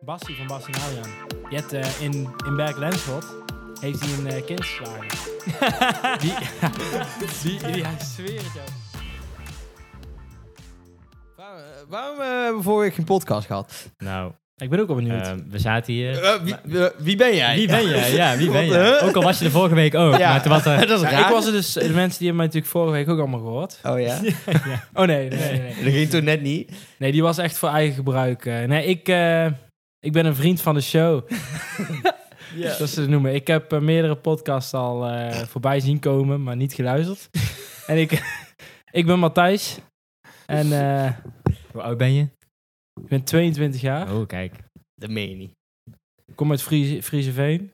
Bassie van Bassie en Adriaan. Je hebt eh, in, in Berg Lenschot heeft hij een eh, kind geslagen. die, die, die, ja, ik zweer het jou. Waarom, eh, waarom eh, hebben we vorige week geen podcast gehad? Nou, Ik ben ook al benieuwd. ehm, we zaten hier. Eh, wie, eh, wie ben jij? Wie ben jij? Ja, wie ben Wat, jij? huh? Ook al was je er vorige week ook. Ja. Maar toen was er... dat Ja, is raar. ik was er dus, de mensen die hebben mij natuurlijk vorige week ook allemaal gehoord. Oh ja? Oh nee, nee, nee. nee. Dat ging toen net niet. Nee, die was echt voor eigen gebruik. eh. nee, ik, eh, ik ben een vriend van de show, zoals ze het noemen. Ik heb eh, meerdere podcasts al eh, voorbij zien komen, maar niet geluisterd. en ik, ik ben Matthijs en eh, Hoe oud ben je? ik ben 22 jaar. Oh, kijk. Dat meen je niet. Ik kom uit Friese, Frieseveen.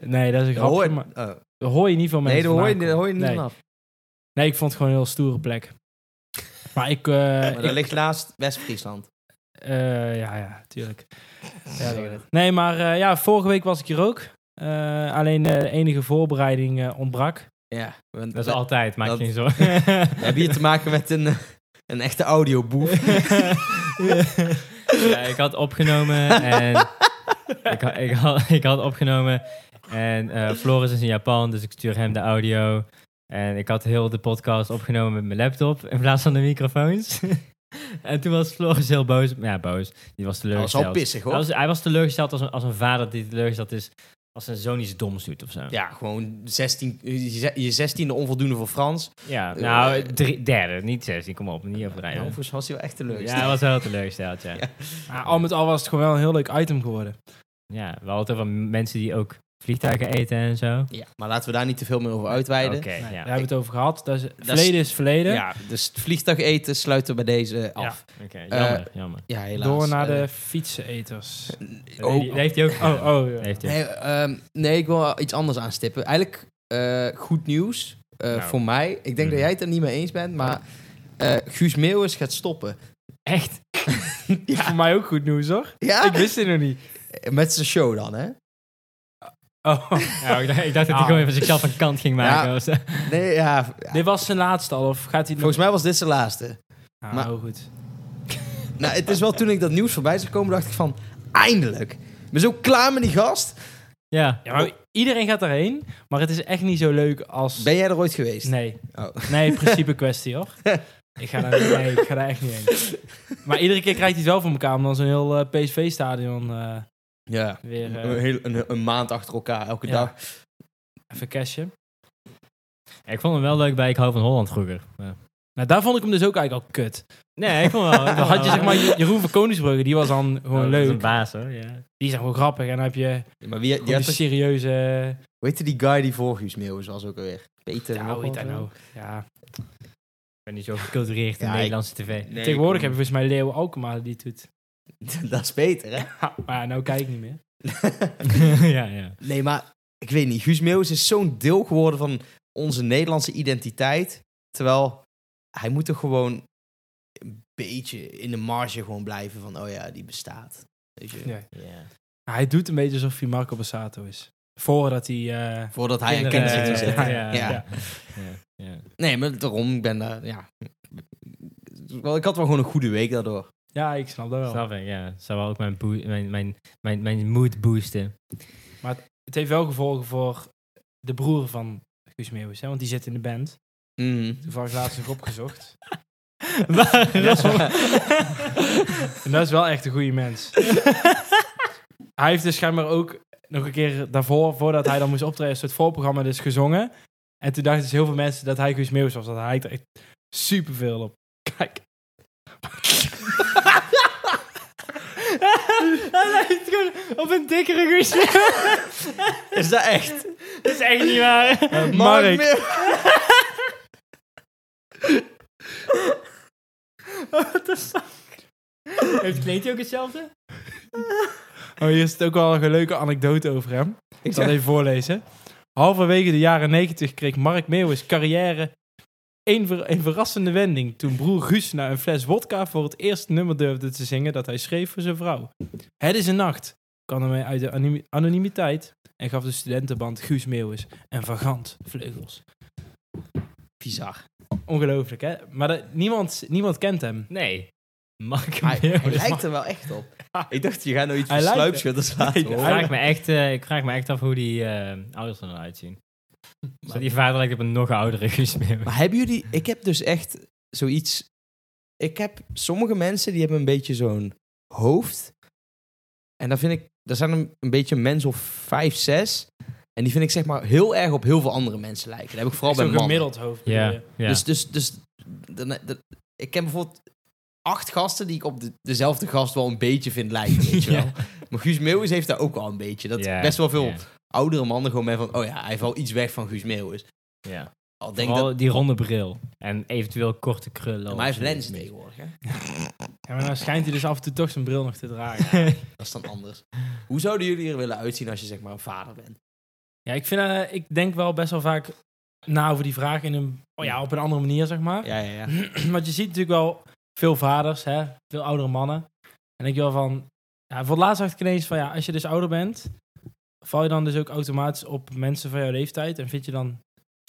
Nee, dat is een Dat hoor, oh. grapje, maar daar hoor je niet veel mensen nee, dat hoor je, vandaan eh. dat hoor je niet komen. nee. vanaf. nee, ik vond het gewoon een heel stoere plek. Maar ik... eh, Maar ik- dat ligt naast West-Friesland. Eh, ja, ja, tuurlijk. Ja, dat- nee, maar eh, ja, vorige week was ik hier ook. Eh, alleen eh, de enige voorbereiding eh, ontbrak. Ja, want Dat dat is altijd, maak je dat- geen zorgen. heb je te maken met een, eh, een echte audioboef. ja, ik had opgenomen en... Ik, ha- ik, had, ik had opgenomen en eh, Floris is in Japan, dus ik stuur hem de audio. En ik had heel de podcast opgenomen met mijn laptop in plaats van de microfoons. en toen was Floris heel boos. Ja, boos. Die was Dat is al teleurgesteld. pissig hoor. Hij was, hij was teleurgesteld als een, als een vader die teleurgesteld is als zijn zoon iets doms doet of zo. Ja, gewoon 16, je ze- je zestiende onvoldoende voor Frans. Ja, nou, drie- derde, niet zestien, kom op, niet Ja, nou, overdrijven. overigens was hij wel echt Ja, leuk. hij was wel teleurgesteld, ja. Ja. ja. Maar al met al was het gewoon wel een heel leuk item geworden. we hadden het over mensen die ook vliegtuigen eten en zo. Ja, maar laten we daar niet te veel meer over Oké, uitweiden. Nee, Daar ja. hebben we het over gehad. Dat is, is- verleden is verleden. Ja, dus het vliegtuig eten sluiten we bij deze af. Eh, Oké, jammer, jammer. Ja, helaas. Door naar Eh, de fietseneters. Oh, oh, die, die heeft hij ook gedaan. Oh, oh. ja. Die heeft hij ook- Nee, ehm, nee, ik wil iets anders aanstippen. Eigenlijk eh, goed nieuws eh, Nou. voor mij. Ik denk Mhm. dat jij het er niet mee eens bent, maar eh, Guus Meeuwis gaat stoppen. Echt? Is Voor mij ook goed nieuws hoor. Ja? Ik wist dit nog niet. Met zijn show dan, hè? Oh. Ja, ik dacht, ik dacht dat hij Ah. gewoon even zichzelf aan kant ging maken. Ja. of zo. Nee, ja. Dit was zijn laatste al, of gaat hij nog... Volgens mij was dit zijn laatste. Ah, maar- oh, goed. Nou, het is wel toen ik dat nieuws voorbij zag komen, dacht ik van, eindelijk. Ik ben zo klaar met die gast. Ja. Oh. Ja, maar iedereen gaat erheen, maar het is echt niet zo leuk als... Ben jij er ooit geweest? Nee. Oh. Nee, principe kwestie hoor. ik, ga daar, nee, ik ga daar echt niet heen. Maar iedere keer krijgt hij het wel voor elkaar om dan zo'n heel eh, PSV-stadion Ja. eh, weer eh, Een, heel- een, een maand achter elkaar, elke Ja. dag. even cashen. Ik vond hem wel leuk bij Ik hou van Holland vroeger. Maar- Nou, daar vond ik hem dus ook eigenlijk al kut. Nee, ik vond hem Oh, wel. Dan had je zeg maar Je- Jeroen van Koningsbrugge, die was dan gewoon Oh, dat is een leuk. baas hoor, ja. Die zijn gewoon grappig. En dan heb je Maar wie, gewoon die had die toch- serieuze... hoe heette die guy die voor Guus Meeuwis was ook alweer? Peter. Ja, nog hoe heet wat? dat nou? Ja. Ik ben niet zo gecultureerd in Ja, ik- Nederlandse tv. Nee, Tegenwoordig heb je ik- volgens mij Leo Alkmaar die het doet. Dat is beter, hè? Ha, maar ja, nou kijk ik niet meer. ja, ja. Nee, maar ik weet niet. Guus Meeuwis is zo'n deel geworden van onze Nederlandse identiteit. Terwijl hij moet toch gewoon een beetje in de marge gewoon blijven van... Oh ja, die bestaat. Weet je? Nee. Hij doet een beetje alsof hij Marco Bassato is. Voordat hij... eh, Voordat hij een Kinderen, kennis ging eh, zetten. ja, Ja. ja. Ja, ja. Nee, maar daarom, ik ben daar... Ja. Wel, Ik had wel gewoon een goede week daardoor. ja, ik snap dat wel. Snap ik, ja. Het zou wel ook mijn, boe- mijn, mijn, mijn, mijn mood boosten. het heeft wel gevolgen voor de broer van Guus Meeuwis, hè, want die zit in de band. Mhm. Toevallig laatst nog opgezocht. Waarom? En dat is wel echt een goede mens. hij heeft dus schijnbaar ook nog een keer daarvoor, voordat hij dan moest optreden, een soort voorprogramma dus gezongen. En toen dachten dus heel veel mensen dat hij Guus Meeuwis was. Dat hij er echt superveel op. Kijk. Hij lijkt gewoon op een dikkere guusje. Is dat echt? Dat is echt niet waar. Eh, Mark Mark. Meeuwis. Heeft kleedt hij ook hetzelfde? Oh, hier zit ook wel een leuke anekdote over hem. Ik Ik zal zeg, het even voorlezen. Halverwege de jaren 90 kreeg Mark Meeuwis carrière een, ver- een verrassende wending toen broer Guus na een fles wodka voor het eerst nummer durfde te zingen dat hij schreef voor zijn vrouw. Het is een nacht, kwam ermee uit de animi- anonimiteit en gaf de studentenband Guus Meeuwis en Vagant vleugels. bizar. Ongelooflijk, hè? Maar dat- niemand, niemand kent hem. Nee. Mark Hij, hij Meeuwis. lijkt er wel echt op. Ik dacht, je gaat nou iets Hij van lijkt- sluipschutters laten Nee, Ik horen. hij- vraag, me echt, eh, ik vraag me echt af hoe die eh, ouders er dan uitzien. Dus die vader lijkt op een nog oudere gesmeeuw. Maar hebben jullie... Ik heb dus echt zoiets... Ik heb sommige mensen die hebben een beetje zo'n hoofd. En daar vind ik... Daar zijn een, een beetje mensen of vijf, zes. En die vind ik zeg maar heel erg op heel veel andere mensen lijken. Dat heb ik vooral bij Zo'n mannen. gemiddeld hoofd. bedoel Ja, je. ja. Dus, dus, dus dan- dan- ik ken bijvoorbeeld acht gasten die ik op de, dezelfde gast wel een beetje vind lijken, weet je wel. Ja. Maar Guus Meeuwis heeft daar ook al een beetje. Dat Ja, best wel veel ja, oudere mannen gewoon met van, oh ja, hij valt iets weg van Guus Meeuwis. ja. Al denk Vooral dat... die ronde bril. En eventueel korte krullen. Maar hij heeft of zo. lenzen tegenwoordig, hè? Ja, maar dan schijnt hij dus af en toe toch zijn bril nog te dragen. Dat is dan anders. Hoe zouden jullie er willen uitzien als je zeg maar een vader bent? Ja, ik, vind, eh, ik denk wel best wel vaak na over die vraag in een, oh ja, op een andere manier, zeg maar. Ja, ja, ja. Want je ziet natuurlijk wel veel vaders, hè, veel oudere mannen. En ik wel van, ja, voor het laatst dacht ik ineens van, ja, als je dus ouder bent, val je dan dus ook automatisch op mensen van jouw leeftijd? En vind je dan,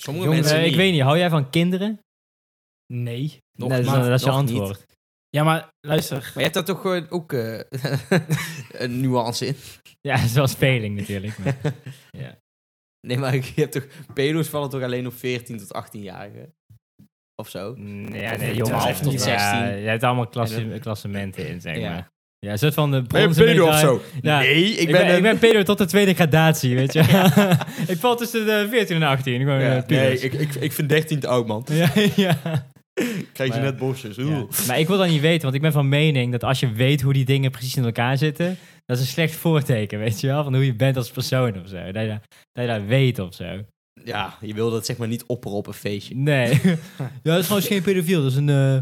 Sommige Jongen, mensen eh, ik weet niet, hou jij van kinderen? nee. Nog Nee, dat is- maar- dat is je nog antwoord. Ja, maar luister. Maar je hebt daar toch gewoon ook eh, een nuance in? Ja, dat is wel speling natuurlijk. maar- ja. Nee, maar je hebt toch... Pedo's vallen toch alleen op 14 tot 18-jarigen? Of zo? Mm, Ja, Of nee, 12 tot ja, 16. Je hebt allemaal klasse, klassementen in, zeg Ja. maar. Ja, een soort van de bronzen medaille. Ja, Nee, ik Ik ben, een- ik ben pedo tot de tweede gradatie, weet je. ik val tussen de 14 en 18. Gewoon, Ja, eh, pubers. ik, ik vind 13 te oud, man. Ja, ja. Krijg Maar- bosjes. Ja. Maar ik wil dat niet weten, want ik ben van mening dat als je weet hoe die dingen precies in elkaar zitten, dat is een slecht voorteken, weet je wel, van hoe je bent als persoon of zo. Dat je dat, je dat weet of zo. Ja, je wil dat zeg maar niet opperen op een feestje. Nee. ja, dat is gewoon geen pedofiel, dat is een eh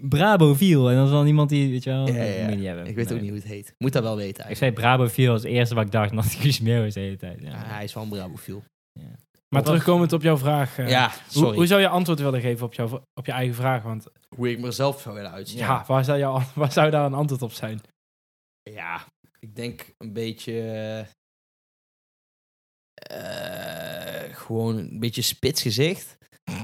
brabofiel. En dat is dan iemand die, weet je wel, Ja, ja, dat ja. moet je niet hebben. Ik weet Nee. ook niet hoe het heet. Moet dat wel weten Ik eigenlijk. zei brabofiel als eerste wat ik dacht, omdat ik Guus Meeuwis de hele tijd. Ja. Ja, Ah, hij is wel een brabofiel. Maar Wat- terugkomend op jouw vraag. eh, Ja, hoe, sorry. hoe zou je antwoord willen geven op, jouw, op je eigen vraag? Want Hoe ik mezelf zou willen uitzien. ja, waar, zou jou, waar zou daar een antwoord op zijn? Ja, ik denk een beetje... eh, eh, gewoon een beetje spits gezicht.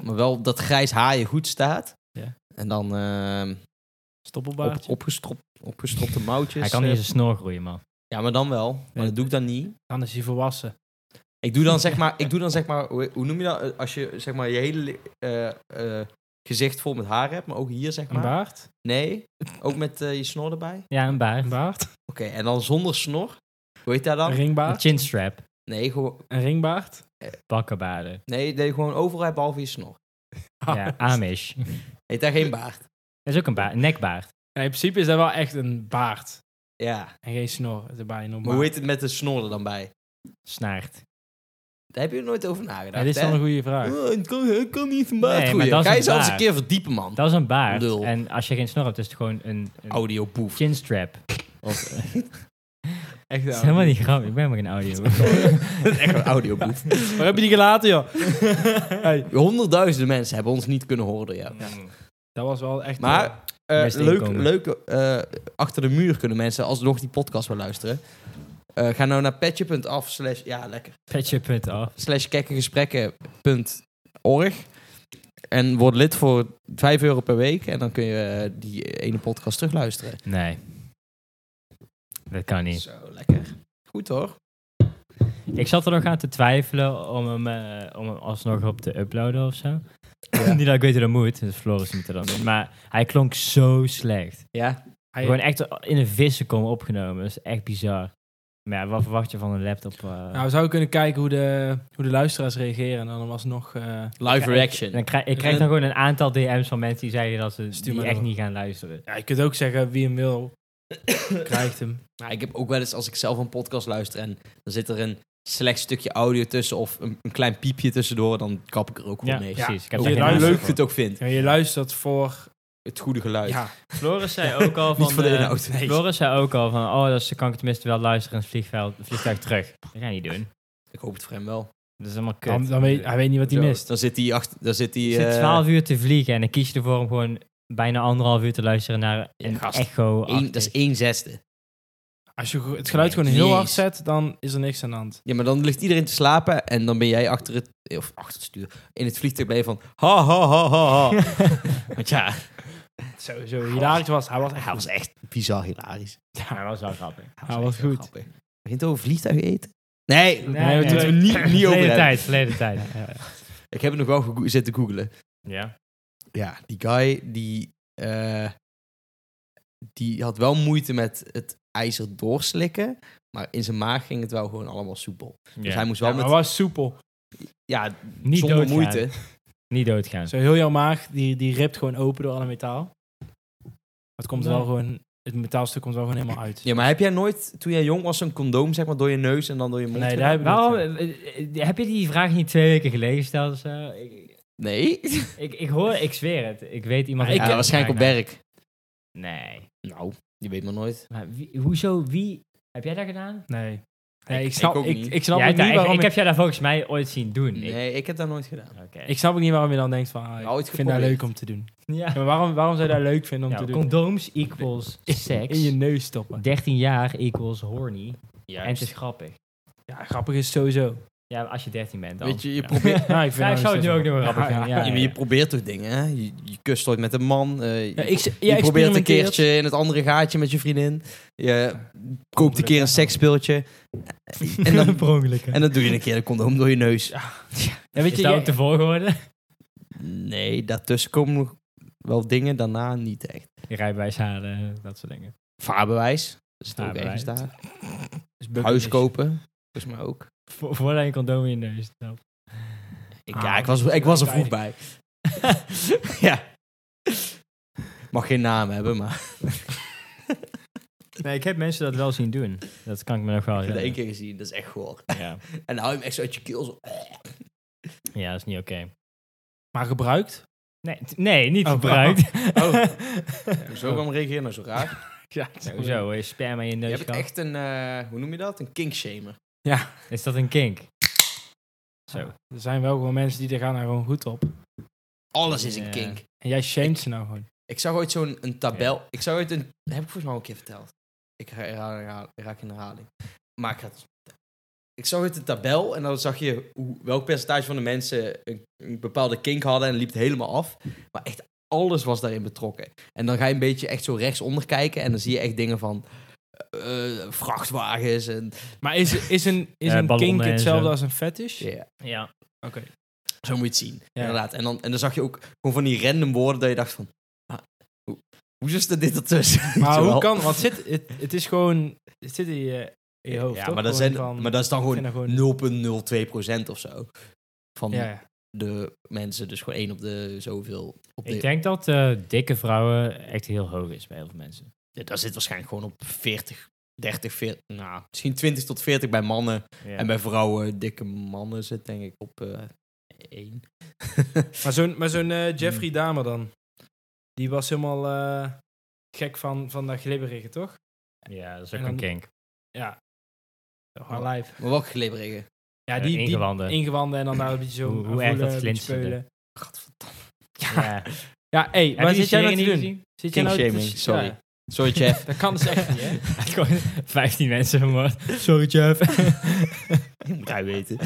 Maar wel dat grijs haar je goed staat. Ja. En dan ehm, op, Stoppelbaardje? opgestrop, opgestropte mouwtjes. Hij kan niet eh, eens een snor groeien, man. Ja, maar dan wel. Maar Nee. dat doe ik dan niet. Dan is hij volwassen. Ik doe dan zeg maar, ik doe dan zeg maar hoe, hoe noem je dat? Eh, Als je zeg maar je hele li- eh, eh, gezicht vol met haar hebt, maar ook hier zeg Een maar. baard? Nee, ook met eh, je snor erbij. Oké, Ja, een baard. Een baard? en dan zonder snor. Hoe heet dat Een dan? Een ringbaard? chinstrap. Nee, gewoon, Een ringbaard? Bakkenbaarden. nee, nee, gewoon overal hebben behalve je snor. Ah. Ja, Amish. Heet daar geen baard? Dat is ook een baard, nekbaard. Ja, in principe is dat wel echt een baard. Ja, En geen snor. Het is bijna normaal. maar hoe heet het met de snor er dan bij? Snaart. Daar heb je er nooit over Ja, nagedacht, dit is dan hè? een goede vraag. Oh, het kan, het kan niet een baard Nee, maar groeien. dat is Ga je een zelfs een baard. keer verdiepen, man. Dat is een baard. Lul. En als je geen snor hebt, is het gewoon een, een Audioboef. chinstrap. Of, eh, Echt Dat is helemaal niet grappig. Ik ben maar geen audio. echt een audioboef. Waar heb je die gelaten, joh? hey, Honderdduizenden mensen hebben ons niet kunnen horen door jou. Mm. dat was wel echt... eh, Maar eh, Best leuk, inkomen. leuk eh, achter de muur kunnen mensen alsnog die podcast wel luisteren. Eh, ga nou naar petje.af slash, ja lekker, Petje punt af. slash kekkengesprekken.org en word lid voor 5 euro per week en dan kun je eh, die ene podcast terugluisteren. Nee. Dat kan niet. Zo, lekker. Goed hoor. Ik zat er nog aan te twijfelen om hem, eh, om hem alsnog op te uploaden of zo. niet dat ik weet hoe dat moet, dus Floris moet er dan doen. Maar hij klonk zo slecht. Ja, hij- Gewoon echt in een vissenkom opgenomen. Dat is echt bizar. Maar ja, wat verwacht je van een laptop? eh? nou, we zouden kunnen kijken hoe de, hoe de luisteraars reageren. En dan was nog... eh live Ja, reaction. Dan krijg, ik krijg dan gewoon een aantal DM's van mensen die zeiden dat ze Stuur die maar echt door. niet gaan luisteren. ja, je kunt ook zeggen wie hem wil, krijgt hem. Nou, ik heb ook wel eens als ik zelf een podcast luister en dan zit er een slecht stukje audio tussen of een, een klein piepje tussendoor, dan kap ik er ook wel mee. Ja. precies. Ik heb Hoe daar je geen luistert. Hoe aandacht leuk voor. je het ook vindt. Ja, je luistert voor... Het goede geluid. Ja, Floris zei ook al van... Niet voor de eh, inhoud. Nee. Floris zei ook al van, oh, dat kan ik tenminste wel luisteren in het vliegveld, vliegtuig terug. Dat ga je niet doen. Ik hoop het voor hem wel. Dat is allemaal kut. dan, dan weet, hij weet niet wat hij Zo, mist. Dan zit hij achter. Dan zit hij. Je zit eh, 12 uur te vliegen en dan kies je ervoor om gewoon bijna anderhalf uur te luisteren naar een gast. echo. één- dat is één zesde. Als je het geluid gewoon heel Jezus. hard zet, dan is er niks aan de hand. Ja, maar dan ligt iedereen te slapen en dan ben jij achter het. Of achter het stuur. In het vliegtuig ben je van. Ha ha ha ha ha. Want ja, het sowieso hilarisch was. Hij was echt Hij was echt bizar hilarisch. Maar dat was wel grappig. Hij was echt heel Ah, goed. Grappig. Begint over vliegtuig eten? Nee, Nee, nee, nee. moeten we niet, niet over Verleden hebben. tijd, verleden tijd. Ja. Ik heb het nog wel gego- zitten googelen. ja. Ja, die guy die, eh, die had wel moeite met het ijzer doorslikken. Maar in zijn maag ging het wel gewoon allemaal soepel. Dus hij moest wel Ja, maar met... hij was soepel. Ja, Niet zonder doodgaan. moeite. Niet doodgaan. Zo heel jouw maag, die, die ript gewoon open door alle metaal. Maar het komt er Ja. wel gewoon, het metaalstuk komt wel gewoon helemaal uit. Ja, maar heb jij nooit, toen jij jong was, een condoom zeg maar door je neus en dan door je mond? Nee, gedaan? daar heb ik Waarom, niet- eh, eh, heb je die vraag niet twee weken geleden gesteld of zo? Ik, Nee? ik, ik hoor, ik zweer het. Ik weet iemand... Ja, heeft ja, het waarschijnlijk op gevraagd. werk. Nee. Nou, je weet maar nooit. Maar wie, hoezo, wie... Heb jij dat gedaan? Nee. Nee, Ik- ik snap, ik ook ik niet. ik, snap Jij ook hebt niet daar- ik, waarom ik je, heb jij dat volgens mij ooit zien doen. Ik- Nee, ik heb dat nooit gedaan. Oké. ik snap ook niet waarom je dan denkt van, ah, ik Nooit vind dat Nou, geprobeerd. leuk om te doen. ja. Ja, maar waarom, waarom zou je dat leuk vinden om Nou, te doen? condooms equals seks. In je neus stoppen. 13 jaar equals horny. En het Juist. is grappig. Ja, grappig is sowieso. Ja, als je 13 bent dan. Weet je, je Ja. probeert... Nou, ik, vind Ja, ik dat nog zou het nu ook steeds nog wel- wel grappig vinden. Ja, Ja, ja, maar je probeert toch dingen, hè? Je, je kust ooit met een man. eh, je Ja, ik, ja, je probeert een experimenteert. keertje in het andere gaatje met je vriendin. Je koopt een keer een seksspeeltje. En dan, per ongeluk. hè. en dan doe je een keer een condoom door je neus. Ja, weet je, Is dat jij- ook de volgorde? Nee, daartussen komen nog wel dingen. Daarna niet echt. Je rijbewijs halen, dat soort dingen. Vaarbewijs. Dat is ook ergens Vaarbewijs. daar. is bucket Huis list. kopen. Volgens mij ook. Vo- voordat je een condoom in je neus stopt. Ik, Ah, ja, dat ik was, is ik was er vroeg bij. eigenlijk- ja. Mag geen naam hebben, maar Nee, ik heb mensen dat wel zien doen. Dat kan ik me nog wel ik heb dat één herinneren. keer gezien. Dat is echt goor. Ja. En dan hou je hem echt zo uit je keel. Zo. eh. ja, dat is niet oké. Maar gebruikt? Nee, t- nee, niet Oh, gebruikt. Oh. Zo kwam reageren nou zo raar. Ja, Sowieso, hoor, je sperma in je Je neus hebt gehad. echt een, eh, hoe noem je dat? Een kinkshamer. Is dat een kink? Zo. Er zijn wel gewoon mensen die daar gaan daar gewoon goed op. Alles is een Ja. kink. En jij shamed ze nou gewoon. Ik zag ooit zo'n een tabel. Ik zag ooit een. Dat heb ik volgens mij al een keer verteld. Ik ra- ra- ra- raak in de herhaling. Maar ik ga het eens vertellen. Ik zag ooit een tabel en dan zag je hoe, welk percentage van de mensen een, een bepaalde kink hadden en liep het helemaal af. Maar echt alles was daarin betrokken. En dan ga je een beetje echt zo rechtsonder kijken en dan zie je echt dingen van eh, vrachtwagens en Maar is, is een, is Ja, een ballonnen kink en hetzelfde zo. als een fetish? Ja. Ja. Oké. Zo moet je het zien, Ja. inderdaad. En dan, en dan zag je ook gewoon van die random woorden dat je dacht van... Ah, hoe, hoe is er dit ertussen? Weet Maar je hoe wel? kan... Want zit, het, het is gewoon... Het zit in je, in je hoofd, ja, toch? maar, dat Gewoon zijn, van- maar dat is dan ik vind dat gewoon- gewoon 0,02% of zo. Van Ja, ja. de mensen. Dus gewoon één op de zoveel. Op de, Ik denk dat eh, dikke vrouwen echt heel hoog is bij heel veel mensen. Ja, Daar zit waarschijnlijk gewoon op 40, 30, 40... Nou, misschien 20 tot 40 bij mannen. En bij vrouwen, dikke mannen zit denk ik op eh 1. Maar zo'n, maar zo'n eh, Hmm. Jeffrey Dahmer dan? Die was helemaal eh, gek van, van dat glibberige, toch? Ja, dat is ook En dan- een kink. Ja. Gewoon lijf. maar welke glibberige? Ja, Eh, die, die ingewanden. ingewanden en dan daar een beetje zo Hoe- hoe aan erg dat voelen, een beetje glinsterde. speulen. Ja, Ja. ja hé, Heb waar je zit jij nou die te serie doen? niet Zit jij nou te- Kinkshaming, sorry. Ja, Sorry, Jeff. dat kan dus echt niet, hè? gezien? Hij heeft gewoon 15 mensen vermoord. Sorry, Jeff. moet hij weten.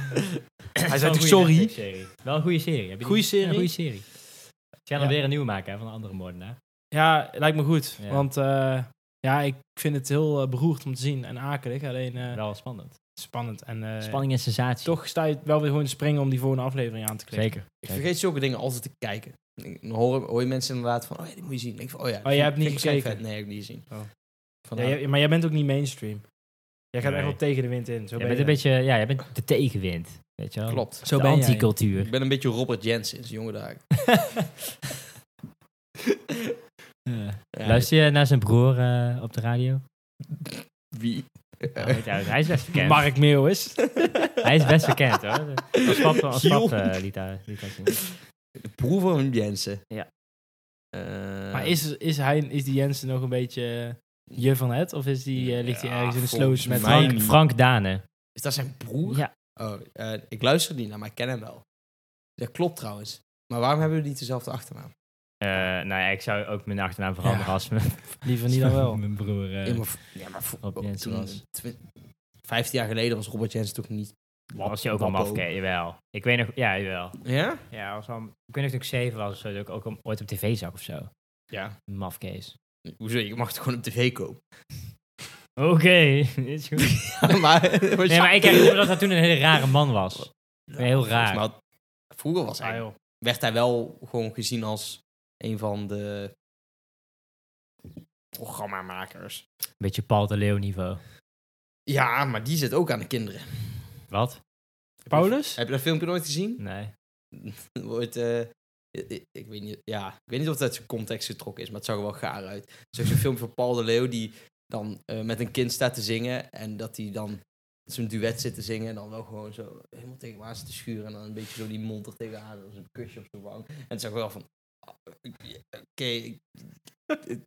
Hij Wel zei een toch goede sorry? Netflix-serie. Wel een goede serie. Heb je die- Goeie serie? Ja, goede serie. Ze gaan er Ja. weer een nieuwe maken hè, van een andere moordenaar. Ja, lijkt me goed. Ja. Want eh, ja, ik vind het heel eh, beroerd om te zien en akelig. Alleen eh, Wel spannend. spannend. En eh, Spanning en sensatie. toch sta je wel weer gewoon te springen om die volgende aflevering aan te klikken. Zeker. Ik vergeet zulke dingen altijd te kijken. Dan hoor, hoor je mensen inderdaad van, oh ja, die moet je zien. Ik denk van, oh ja, Oh, jij hebt niet vind ik waarschijnlijk gekeken? vet. Nee, heb ik niet gezien. Oh. Van, Ja, nou, jij- maar jij bent ook niet mainstream. Jij gaat Nee. echt wel tegen de wind in. Zo Jij ben bent een beetje, ja, jij bent de tegenwind. Weet je wel? Klopt. Zo de ben jij. Ik anticultuur. ben een beetje Robert Jensen, zijn jonge dagen. Ja. Ja, Luister je naar zijn broer eh, op de radio? Wie? Nou, weet je, hij is best bekend. Mark Meeuwis. Hij is best bekend hoor. Als pap, als Giel. pap eh, liet hij liet hij zien. De broer van Jensen. Ja. Eh, maar is, is, hij, is die Jensen nog een beetje eh, je van het? Of is die, eh, ligt hij Ja, ergens in de volgens sloot met mij Frank? Frank, Frank Dane. is dat zijn broer? Ja. Oh, eh, ik luister niet naar, maar ik ken hem wel. Dat klopt trouwens. Maar waarom hebben we niet dezelfde achternaam? Eh, nou ja, ik zou ook mijn achternaam veranderen Ja. als mijn, Liever niet dan wel. mijn broer. eh, Ja, maar, v- ja, maar v- Rob Jensen toen- was- twi- 15 jaar geleden was Robert Jensen toch niet... was je ook al Wappo. mafke, jawel. Ik weet nog, ja, jawel. Ja? Ja, was al, ik weet nog toen ik zeven was of zo, dat ik ook om- ooit op tv zag of zo. Ja. Mafkees. Hoezo? Je mag het gewoon op tv kopen. Oké, is goed. maar, Nee, maar ik herinner me dat hij toen een hele rare man was. Heel raar. Maar vroeger was Ah, Ah, hij, werd hij wel gewoon gezien als een van de programmamakers. Beetje Paul de Leeuw niveau. Ja, maar die zit ook aan de kinderen. Wat? Paulus? Heb je dat filmpje nooit gezien? Nee. Wordt, eh, ik, ik weet niet, ja, ik weet niet of dat uit zijn context getrokken is, maar het zag er wel gaar uit. Er is een filmpje van Paul de Leeuw die dan eh, met een kind staat te zingen en dat hij dan zo'n duet zit te zingen en dan wel gewoon zo helemaal tegen hem aan zit te schuren en dan een beetje zo die mond er tegenaan, dan een kusje op zijn wang. En het zag wel van, ah, oké, ik-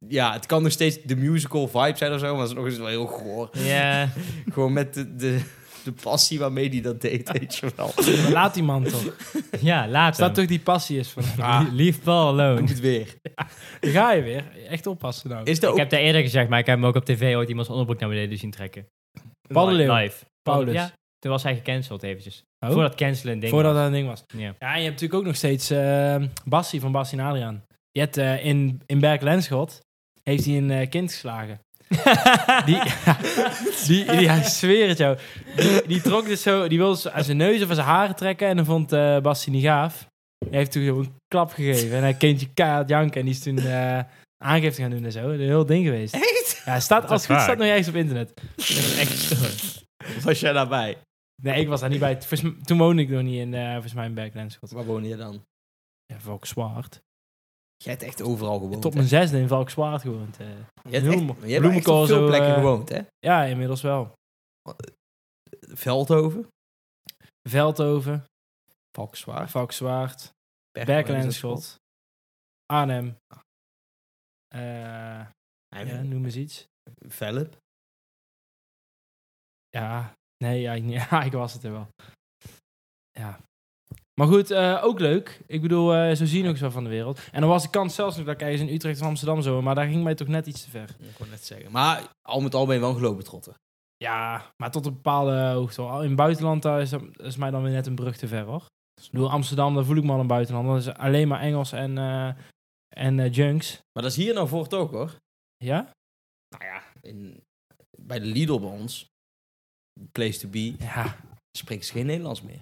ja, het kan nog steeds de musical vibe zijn of zo, maar het is nog eens wel heel goor. Ja. Gewoon met de, de, de passie waarmee hij dat deed, weet je wel. Maar Laat die man toch. Ja, laat Als dat hem. toch die passie is van hem. Ah. Lie- Leave Paul alone. Doe het weer. Dan ga je weer. Echt oppassen nou. Is dat Ik ook heb daar eerder gezegd, maar ik heb hem ook op tv ooit iemands onderbroek naar beneden zien trekken. Paul de Live. Leeuw. Live. Paulus. Ja, toen was hij gecanceld eventjes. Oh. Voordat cancelen een ding Voordat was. dat een ding was. Ja. Ja, en je hebt natuurlijk ook nog steeds eh Bassie van Bassie en Adriaan. Je hebt eh, in, in Berk-Lenschot heeft hij een eh, kind geslagen. Die, die, die, ja, ik zweer het jou. Die, die trok dus zo, die wilde zo aan zijn neus of aan zijn haren trekken en dan vond eh Bassie niet gaaf. Hij heeft toen gewoon een klap gegeven en hij kindje keihard janken en die is toen eh, aangifte gaan doen en zo. Een heel ding geweest. Ja, staat, als het goed vaak. staat nog ergens op internet. Echt zo. Was jij daarbij? Nee, ik was daar niet bij. Volgens m- Toen woonde ik nog niet in, eh volgens mij in Berk-Lenschot. Waar woon je dan? Ja, Volkswaard. Jij hebt echt overal gewoond. Tot hè? mijn zesde in Valkswaard gewoond. eh. Je hebt heel echt- mo- je hebt echt op bloemenkool veel zo, plekken eh, gewoond, hè? Ja, inmiddels wel. Veldhoven. Veldhoven, Valkenswaard. Valkswaard, Berkelen Berkelenschot, Arnhem. Eh, ja, noem eens iets. Velp. Ja, nee, ja, ik- ja, ik was het er wel. Ja. Maar goed, eh, ook leuk. Ik bedoel, eh, zo zie je nog eens wel van de wereld. En dan was de kans zelfs nog dat ik ergens in Utrecht of Amsterdam zou, maar daar ging mij toch net iets te ver. Ik kon net zeggen. Maar al met al ben je wel gelopen trotten. Ja, maar tot een bepaalde hoogte. wel. In het buitenland daar is, dat- is mij dan weer net een brug te ver, hoor. Dus Ik bedoel, Amsterdam, daar voel ik me al een buitenlander. Dat is alleen maar Engels en, eh, en eh, junks. Maar dat is hier nou voort ook, hoor. Ja? Nou ja. In, bij de Lidl bij ons, place to be, Ja. spreekt ze geen Nederlands meer.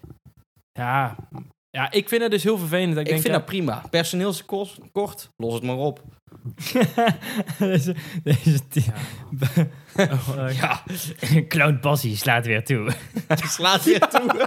Ja. Ja, ik vind het dus heel vervelend. Dat ik, Ik, denk, vind ja, dat prima. Personeelskort, kort, los het maar op. deze, deze team. Oh, Ja, Clown Bassie slaat weer toe. slaat weer toe.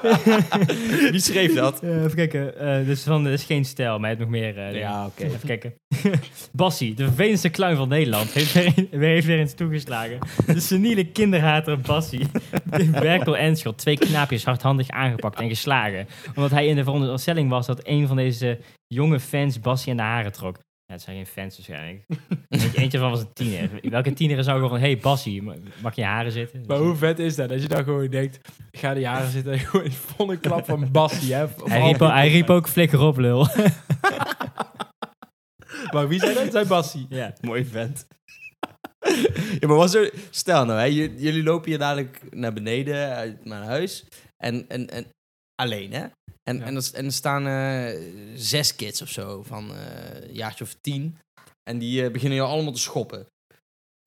Wie schreef dat? Eh, even kijken. eh dus van, dit is geen stijl, maar hij heeft nog meer. eh, dingen. Ja, oké. Even kijken. Bassie, de vervelendste kluin van Nederland, heeft weer, een- weer- heeft weer eens toegeslagen. De seniele kinderhater Bassie. In Berkel Enschot, twee knaapjes hardhandig aangepakt en geslagen. Omdat hij in de veronderstelling was dat een van deze jonge fans Bassie aan de haren trok. Ja, het zijn geen fans waarschijnlijk. Eentje- Eentje van was een tiener. Welke tiener zou gewoon van, hey Bassie, ma- mag je haren zitten? Maar hoe vet is dat? Dat je dan gewoon denkt, ik ga de jaren zitten en gewoon in volle klap van Bassie, hè? hij, riep, ook- hij riep ook flikker op, lul. Maar wie zei dat? Zei Bassie. ja. Mooi vent. ja, maar was er... Stel nou, hè, j- jullie lopen hier dadelijk naar beneden uit mijn huis. En, en, en alleen, hè? En, Ja. en, er, s- en er staan eh, zes kids of zo, van eh, een jaartje of tien. En die eh, beginnen jou allemaal te schoppen.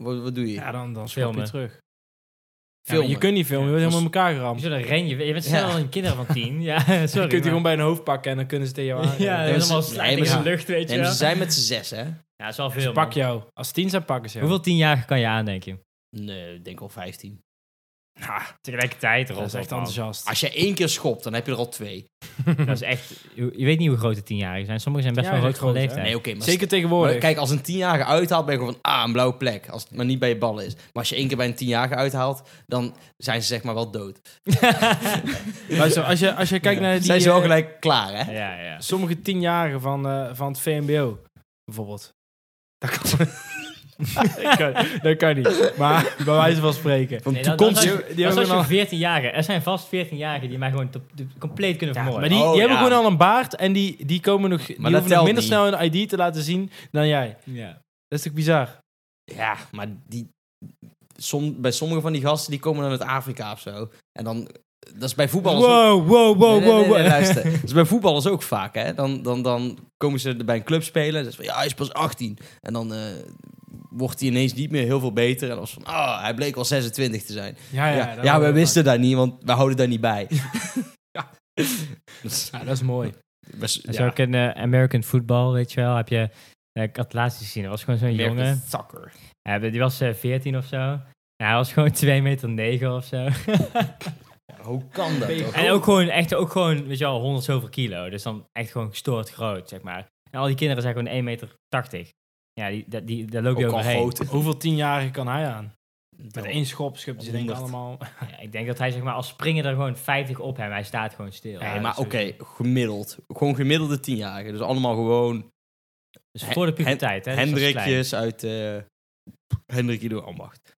Wat, wat doe je? Ja, dan, dan schop je Filmen. terug. Ja, maar Filmen. je kunt niet filmen, je wordt Ja, helemaal in elkaar geramd. Zo, dan ren je. Je bent snel Ja. een kinderen van tien. Ja, sorry. Je kunt die maar- gewoon bij een hoofd pakken en dan kunnen ze tegen jou aan. Ja, maar ze- helemaal nee, maar slijtig in de ze- lucht, weet je Nee, maar wel. ze zijn met z'n zes, hè? Ja, is wel Ze veel, dus pak jou. Als tien zijn, pakken ze jou. Hoeveel tienjarigen kan je aan, denk je? Nee, ik denk al vijftien. Tegelijkertijd, Dat is echt enthousiast. Als je één keer schopt, dan heb je er al twee. Dat is echt... Je je weet niet hoe groot de tienjarigen zijn. Sommigen zijn best wel groot Tienjarigen van zijn groot, leeftijd. hè? Nee, oké, maar... Zeker Maar tegenwoordig. kijk, als een tienjarige uithaalt, ben je gewoon van, ah, een blauwe plek. Als het maar niet bij je ballen is. Maar als je één keer bij een tienjarige uithaalt, dan zijn ze zeg maar wel dood. Luister, als je, als je kijkt naar Eh, die, zijn ze wel eh, gelijk klaar, hè? Ja, Dus ja. sommige tienjarigen van, eh, van het VMBO, bijvoorbeeld. Dat kan, dat kan, dat kan niet. Maar bij wijze van spreken. Van Nee, dat, dat, toekomst... Die is- dat, hebben is al- als je 14-jarigen... Er zijn vast 14-jarigen die mij gewoon to- de- compleet kunnen Ja, vermoorden. maar die, die Oh, hebben ja. gewoon al een baard en die, die komen nog, die dat hoeven nog telt minder niet. snel een ID te laten zien dan jij. Ja. Dat is toch bizar? Ja, maar die... Som, bij sommige van die gasten, die komen dan uit Afrika of zo. En dan dat is bij voetballers ook... Wow, wow, wow, Nee, wow, nee, nee, wow. nee, luister. Dat is bij voetballers ook vaak, hè. Dan, dan, dan komen ze er bij een club spelen en zeggen ze van, ja, hij is pas 18. En dan eh, wordt hij ineens niet meer heel veel beter. En dan is van, ah, hij bleek al 26 te zijn. Ja, Ja, ja, ja, dat houden we we wisten daar niet, want we houden daar niet bij. Ja. Dat is van. Ja, dat is mooi. best- Dat is ja. ook in eh, American Football, weet je wel. Heb je, eh, ik had het laatst gezien, er was gewoon zo'n American jongen. Sucker. Ja, die was eh, 14 of zo. En hij was gewoon 2 meter 9 of zo. Ja, hoe kan dat toch? en ook gewoon, echt ook gewoon, weet je wel, 100 zoveel kilo. Dus dan echt gewoon gestoord groot, zeg maar. En al die kinderen zijn gewoon 1 meter 80. Ja, die, dat- die, daar loop je al overheen. groot. Hoeveel tienjarigen kan hij aan? Met Nou, één schop schupt ze denk ik honderd. allemaal. Ja, ik denk dat hij, zeg maar, als springer er gewoon 50 op hem. Hij staat gewoon stil. Nee, Ja, maar dat oké, is sowieso- gemiddeld. Gewoon gemiddelde tienjarigen. Dus allemaal gewoon Dus voor Hen- de puberteit, hè. dus dat is klein. Hendrikjes uit eh Hendrikje door Ambacht.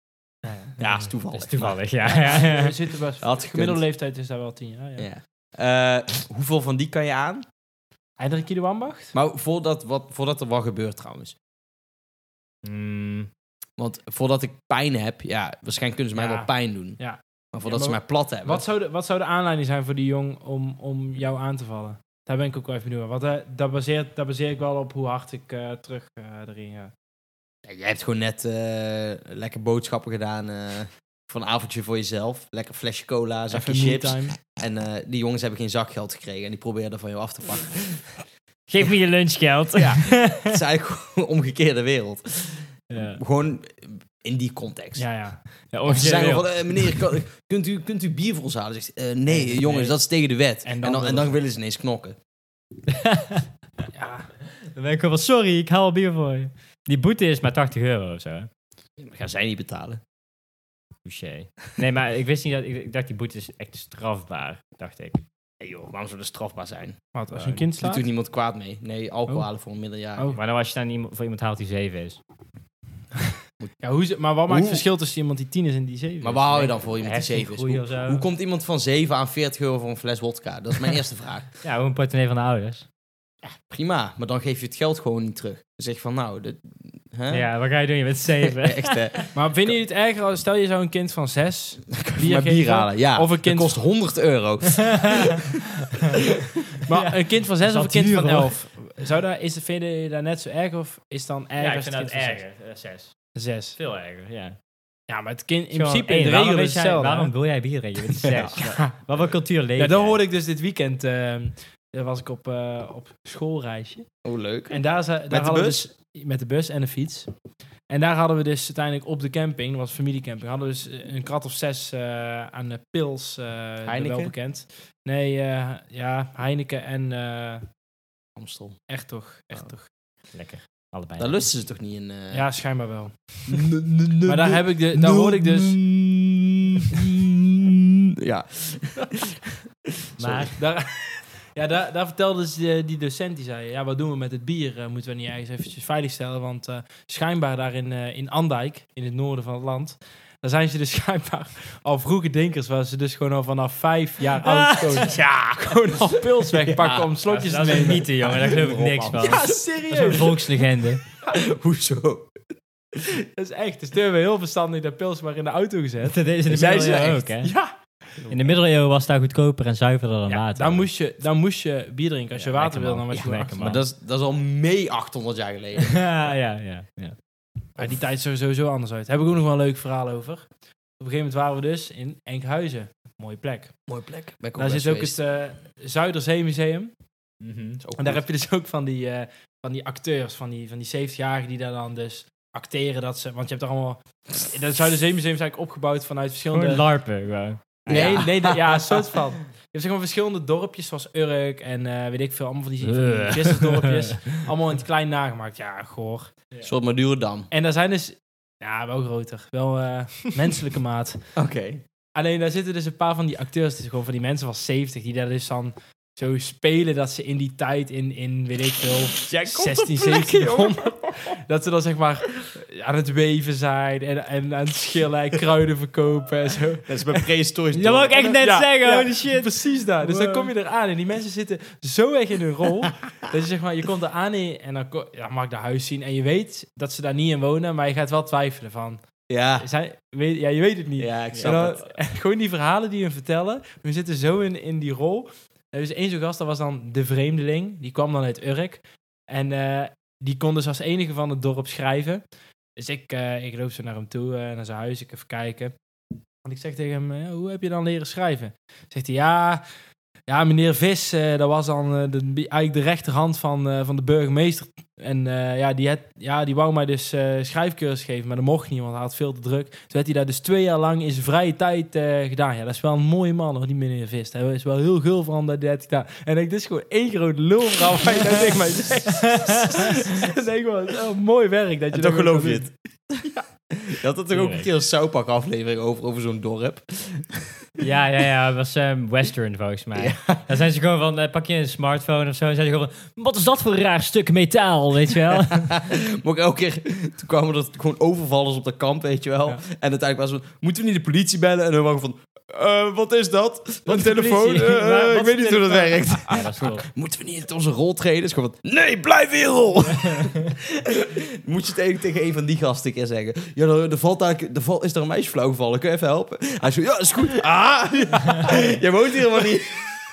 Ja, is toevallig. Dat is toevallig, ja. ja, ja. We zitten best. Had De gemiddelde gekund. leeftijd is daar wel tien jaar. Ja. Ja. Eh, hoeveel van die kan je aan? Eindelijk Kido Ambacht? Maar voordat, wat, voordat er wat gebeurt trouwens. Mm, Want voordat ik pijn heb, ja, waarschijnlijk kunnen ze mij Ja. wel pijn doen. Ja. Maar voordat Ja, maar ze mij plat hebben. Wat zou, de, wat zou de aanleiding zijn voor die jong om, om jou aan te vallen? Daar ben ik ook wel even benieuwd naar. Want eh, dat, baseert, dat baseer ik wel op hoe hard ik eh, terug eh, erin ga. Ja, jij hebt gewoon net eh, lekker boodschappen gedaan. eh, voor een avondje voor jezelf. Lekker flesje cola, een zakje me chips. time. En eh, die jongens hebben geen zakgeld gekregen. En die probeerden van jou af te pakken. Geef me je lunchgeld. Ja. Het is eigenlijk gewoon een omgekeerde wereld. ja. Gewoon in die context. Ja, ja. Ja, Of ze zeggen origineel. van, eh, meneer, kan- kunt, u, kunt u bier voor ons halen? Zegt, ze, eh, nee, Nee. jongens, dat is tegen de wet. En dan, en dan, willen ze- willen ze ineens knokken. eh, ja. Dan ben ik wel, sorry, ik haal al bier voor je. Die boete is maar 80 euro of zo. hè? Dat gaan zij niet betalen. Touché. Nee, maar ik wist niet dat... Ik, ik dacht, die boete is echt strafbaar, dacht ik. Nee joh, waarom zou dat strafbaar zijn? Wat, als Eh, je een kind Doet slaat? natuurlijk niemand kwaad mee. Nee, alcohol Oh. halen voor een middeljaar. Oh. Maar dan als je dan iemand, voor iemand haalt die 7 is. Ja, hoe, ze- maar wat maakt het Hoe- verschil tussen iemand die tien is en die zeven is? Maar waar hou je dan voor iemand die zeven is? Hersengroei Hoe, of zo. hoe komt iemand van 7 aan 40 euro voor een fles wodka? Dat is mijn eerste vraag. Ja, hoe een portemonnee van de ouders. Prima, maar dan geef je het geld gewoon niet terug. Dan zeg je van, nou, dat... Hè? Ja, wat ga je doen? Je bent 7. Echt, hè? Maar vinden jullie het erger als... Stel je zou een kind van zes... Bier, maar bier geven? halen, ja. Of een Dat kind- kost 100 euro. Maar een kind van zes Dat of een kind van duur, hoor. elf? Zou daar, is, vind je daar net zo erg of is dan erger ja, ik als vind het dat kind van zes? erger. 6. Zes. Veel erger, ja. Ja, maar het kind in Gewoon, principe hey, in de waarom regel weet is jij- hetzelfde. Waarom wil jij bier drinken? Je bent 6. Ja. Wat voor cultuur leef Ja, jij? dat hoorde ik dus dit weekend. ehm, daar was ik op, eh, op schoolreisje. Oh, leuk. En daar, za- daar Met de hadden we bus? dus- met de bus en de fiets. En daar hadden we dus uiteindelijk op de camping, dat was familiecamping, hadden we dus een krat of zes eh, aan de pils, eh, Heineken? wel bekend. Nee, eh, ja, Heineken en eh, Amstel. echt toch, echt Oh. toch. Lekker. Allebei. Daar lusten ze toch niet in? eh? Ja, schijnbaar wel. Maar Maar daar, heb ik de, daar hoorde ik dus... Ja. Maar Daar, ja, daar, daar vertelde ze, eh, die docent, die zei... Ja, wat doen we met het bier? Eh, moeten we niet ergens eventjes veiligstellen? Want eh, schijnbaar daar in, eh, in Andijk, in het noorden van het land... Daar zijn ze dus schijnbaar al vroege denkers... waar ze dus gewoon al vanaf vijf jaar oud gewoon, Ah, ja, gewoon al pils wegpakken om slokjes dat te is een nemen. mythe, jongen. Daar geloof ik Kom op, niks man. van. Ja, Dat is een serieus. volkslegende. Hoezo? Dat is echt. Dus toen hebben we heel verstandig dat pils maar in de auto gezet. Dat is in de Zijn ze middeleeuwen echt? ook, hè? Ja, In de middeleeuwen was daar goedkoper en zuiverder dan ja water. dan, moest je, dan moest je bier drinken. Als je Ja, water lekker wil, man. dan was je Ja, gewoon lekker achter. Maar dat is, dat is al mee 800 jaar geleden. ja, ja, ja. ja. Maar die tijd zag er sowieso anders uit. Daar heb ik ook nog wel een leuk verhaal over. Op een gegeven moment waren we dus in Enkhuizen. Mooie plek. Mooie plek. Ben ik Daar best zit ook geweest. het eh Zuiderzeemuseum. Is ook En daar goed. heb je dus ook van die, eh, van die acteurs, van die, van die 70-jarigen die daar dan dus acteren. Dat ze, want je hebt er allemaal... Dat Zuiderzeemuseum is eigenlijk opgebouwd vanuit verschillende... Gewoon larpen, gewoon. nee, Ja. nee, dat- ja, een soort van. Je hebt zeg maar verschillende dorpjes zoals Urk en eh, weet ik veel. Allemaal van die, van die Eh. vissersdorpjes. Allemaal in het klein nagemaakt. Ja, goor. Een soort Madurodam. En daar zijn dus... Ja, wel groter. Wel eh, menselijke maat. Oké. Alleen daar zitten dus een paar van die acteurs, dus gewoon van die mensen van 70, die daar dus dan zo spelen dat ze in die tijd, in, in weet ik veel, 16, 1700, dat ze dan zeg maar aan het weven zijn en, en aan het schillen en kruiden verkopen en zo. Dat is bij prehistorisch. Dat wil ik echt net Ja, zeggen, ja, holy shit. Precies daar. Dus dan Wow. kom je eraan en die mensen zitten zo erg in hun rol, dat je zeg maar, je komt eraan en en dan ko- ja, mag ik de huis zien en je weet dat ze daar niet in wonen, maar je gaat wel twijfelen van, Ja, Zij, weet, ja, je weet het niet. ja ik En snap dan- het. gewoon die verhalen die hun vertellen. We zitten zo in, in die rol. Er is één zo'n gast, dat was dan de vreemdeling. Die kwam dan uit Urk. En eh, die kon dus als enige van het dorp schrijven. Dus ik, eh, ik loop zo naar hem toe, en naar zijn huis. Ik even kijken. En ik zeg tegen hem, eh, hoe heb je dan leren schrijven? Zegt hij, ja... Ja, meneer Vis, eh, dat was dan eh, de, eigenlijk de rechterhand van, eh, van de burgemeester. En eh, ja, die had, ja, die wou mij dus eh schrijfcursus geven, maar dat mocht niet, want hij had veel te druk. Toen werd hij daar dus twee jaar lang in zijn vrije tijd eh, gedaan. Ja, dat is wel een mooie man, hoor, die meneer Vist. Hij is wel heel gul van dat hij dat gedaan. En ik, dit is gewoon één groot lulverhaal waar je dat tegen mij zegt. en ik denk gewoon, oh, mooi werk dat je En toch dat geloof je kan het. Je had het toch ook een keer een Soupak aflevering over, over zo'n dorp. Ja, ja, ja. Het was ehm, western volgens mij. Dan zijn ze gewoon van, eh, pak je een smartphone of zo. En zijn ze gewoon van, wat is dat voor een raar stuk metaal, weet je wel? Maar ook elke keer, toen kwamen er gewoon overvallers op dat kamp, weet je wel. Ja. En uiteindelijk was het van, moeten we niet de politie bellen? En dan waren we van, eh, wat is dat? Wat een is de telefoon? politie? Eh, eh, Waar- wat ik is weet de niet hoe dat telefoon? werkt. ja, dat is toch. Moeten we niet uit onze rol treden? Is gewoon van, nee, blijf in je rol. Moet je het even tegen een van die gasten een keer zeggen. Ja, er, er valt daar, er valt, is er een meisje flauw gevallen? Kun je even helpen? Hij zo, ja, is goed. Ah, ja. jij woont hier helemaal niet.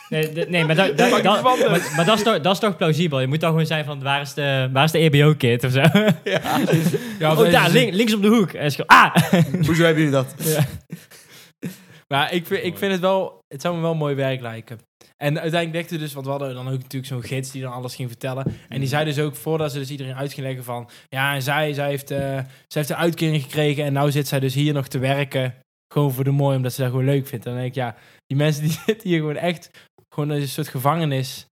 Nee, d- nee, maar, dat- dat- Pak die dat- banden. maar, maar dat, is toch, dat is toch plausibel. Je moet dan gewoon zijn van, waar is de, waar is de E EBO-kit of zo? doen. Ja, of oh, deze daar, zin. link- links op de hoek. En ze gewoon, ah! Hoezo hebben jullie dat? Maar ik vind, ik vind het wel, het zou me wel mooi werk lijken. En uiteindelijk dachten we dus, want we hadden dan ook natuurlijk zo'n gids die dan alles ging vertellen. En Mhm. die zei dus ook, voordat ze dus iedereen uit ging leggen van, ja, en zij, zij heeft, eh zij heeft een uitkering gekregen en nou zit zij dus hier nog te werken. Gewoon voor de mooi, omdat ze dat gewoon leuk vindt. En dan denk ik, ja, die mensen die zitten hier gewoon echt, gewoon in een soort gevangenis,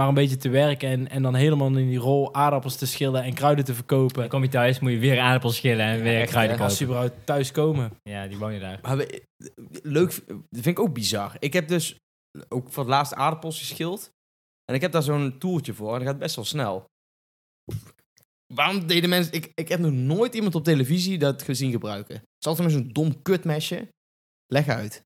maar een beetje te werken. En, en dan helemaal in die rol aardappels te schillen en kruiden te verkopen. Dan kom je thuis, moet je weer aardappels schillen en weer echt, kruiden hè? Als ze kopen. überhaupt thuis komen. Ja, die wonen daar. Maar we- leuk, dat vind ik ook bizar. Ik heb dus ook voor het laatst aardappels geschild. En ik heb daar zo'n toertje voor. En dat gaat best wel snel. Waarom deden mensen... Ik, ik heb nog nooit iemand op televisie dat gezien gebruiken. Het is altijd met zo'n dom kutmesje. Leg uit.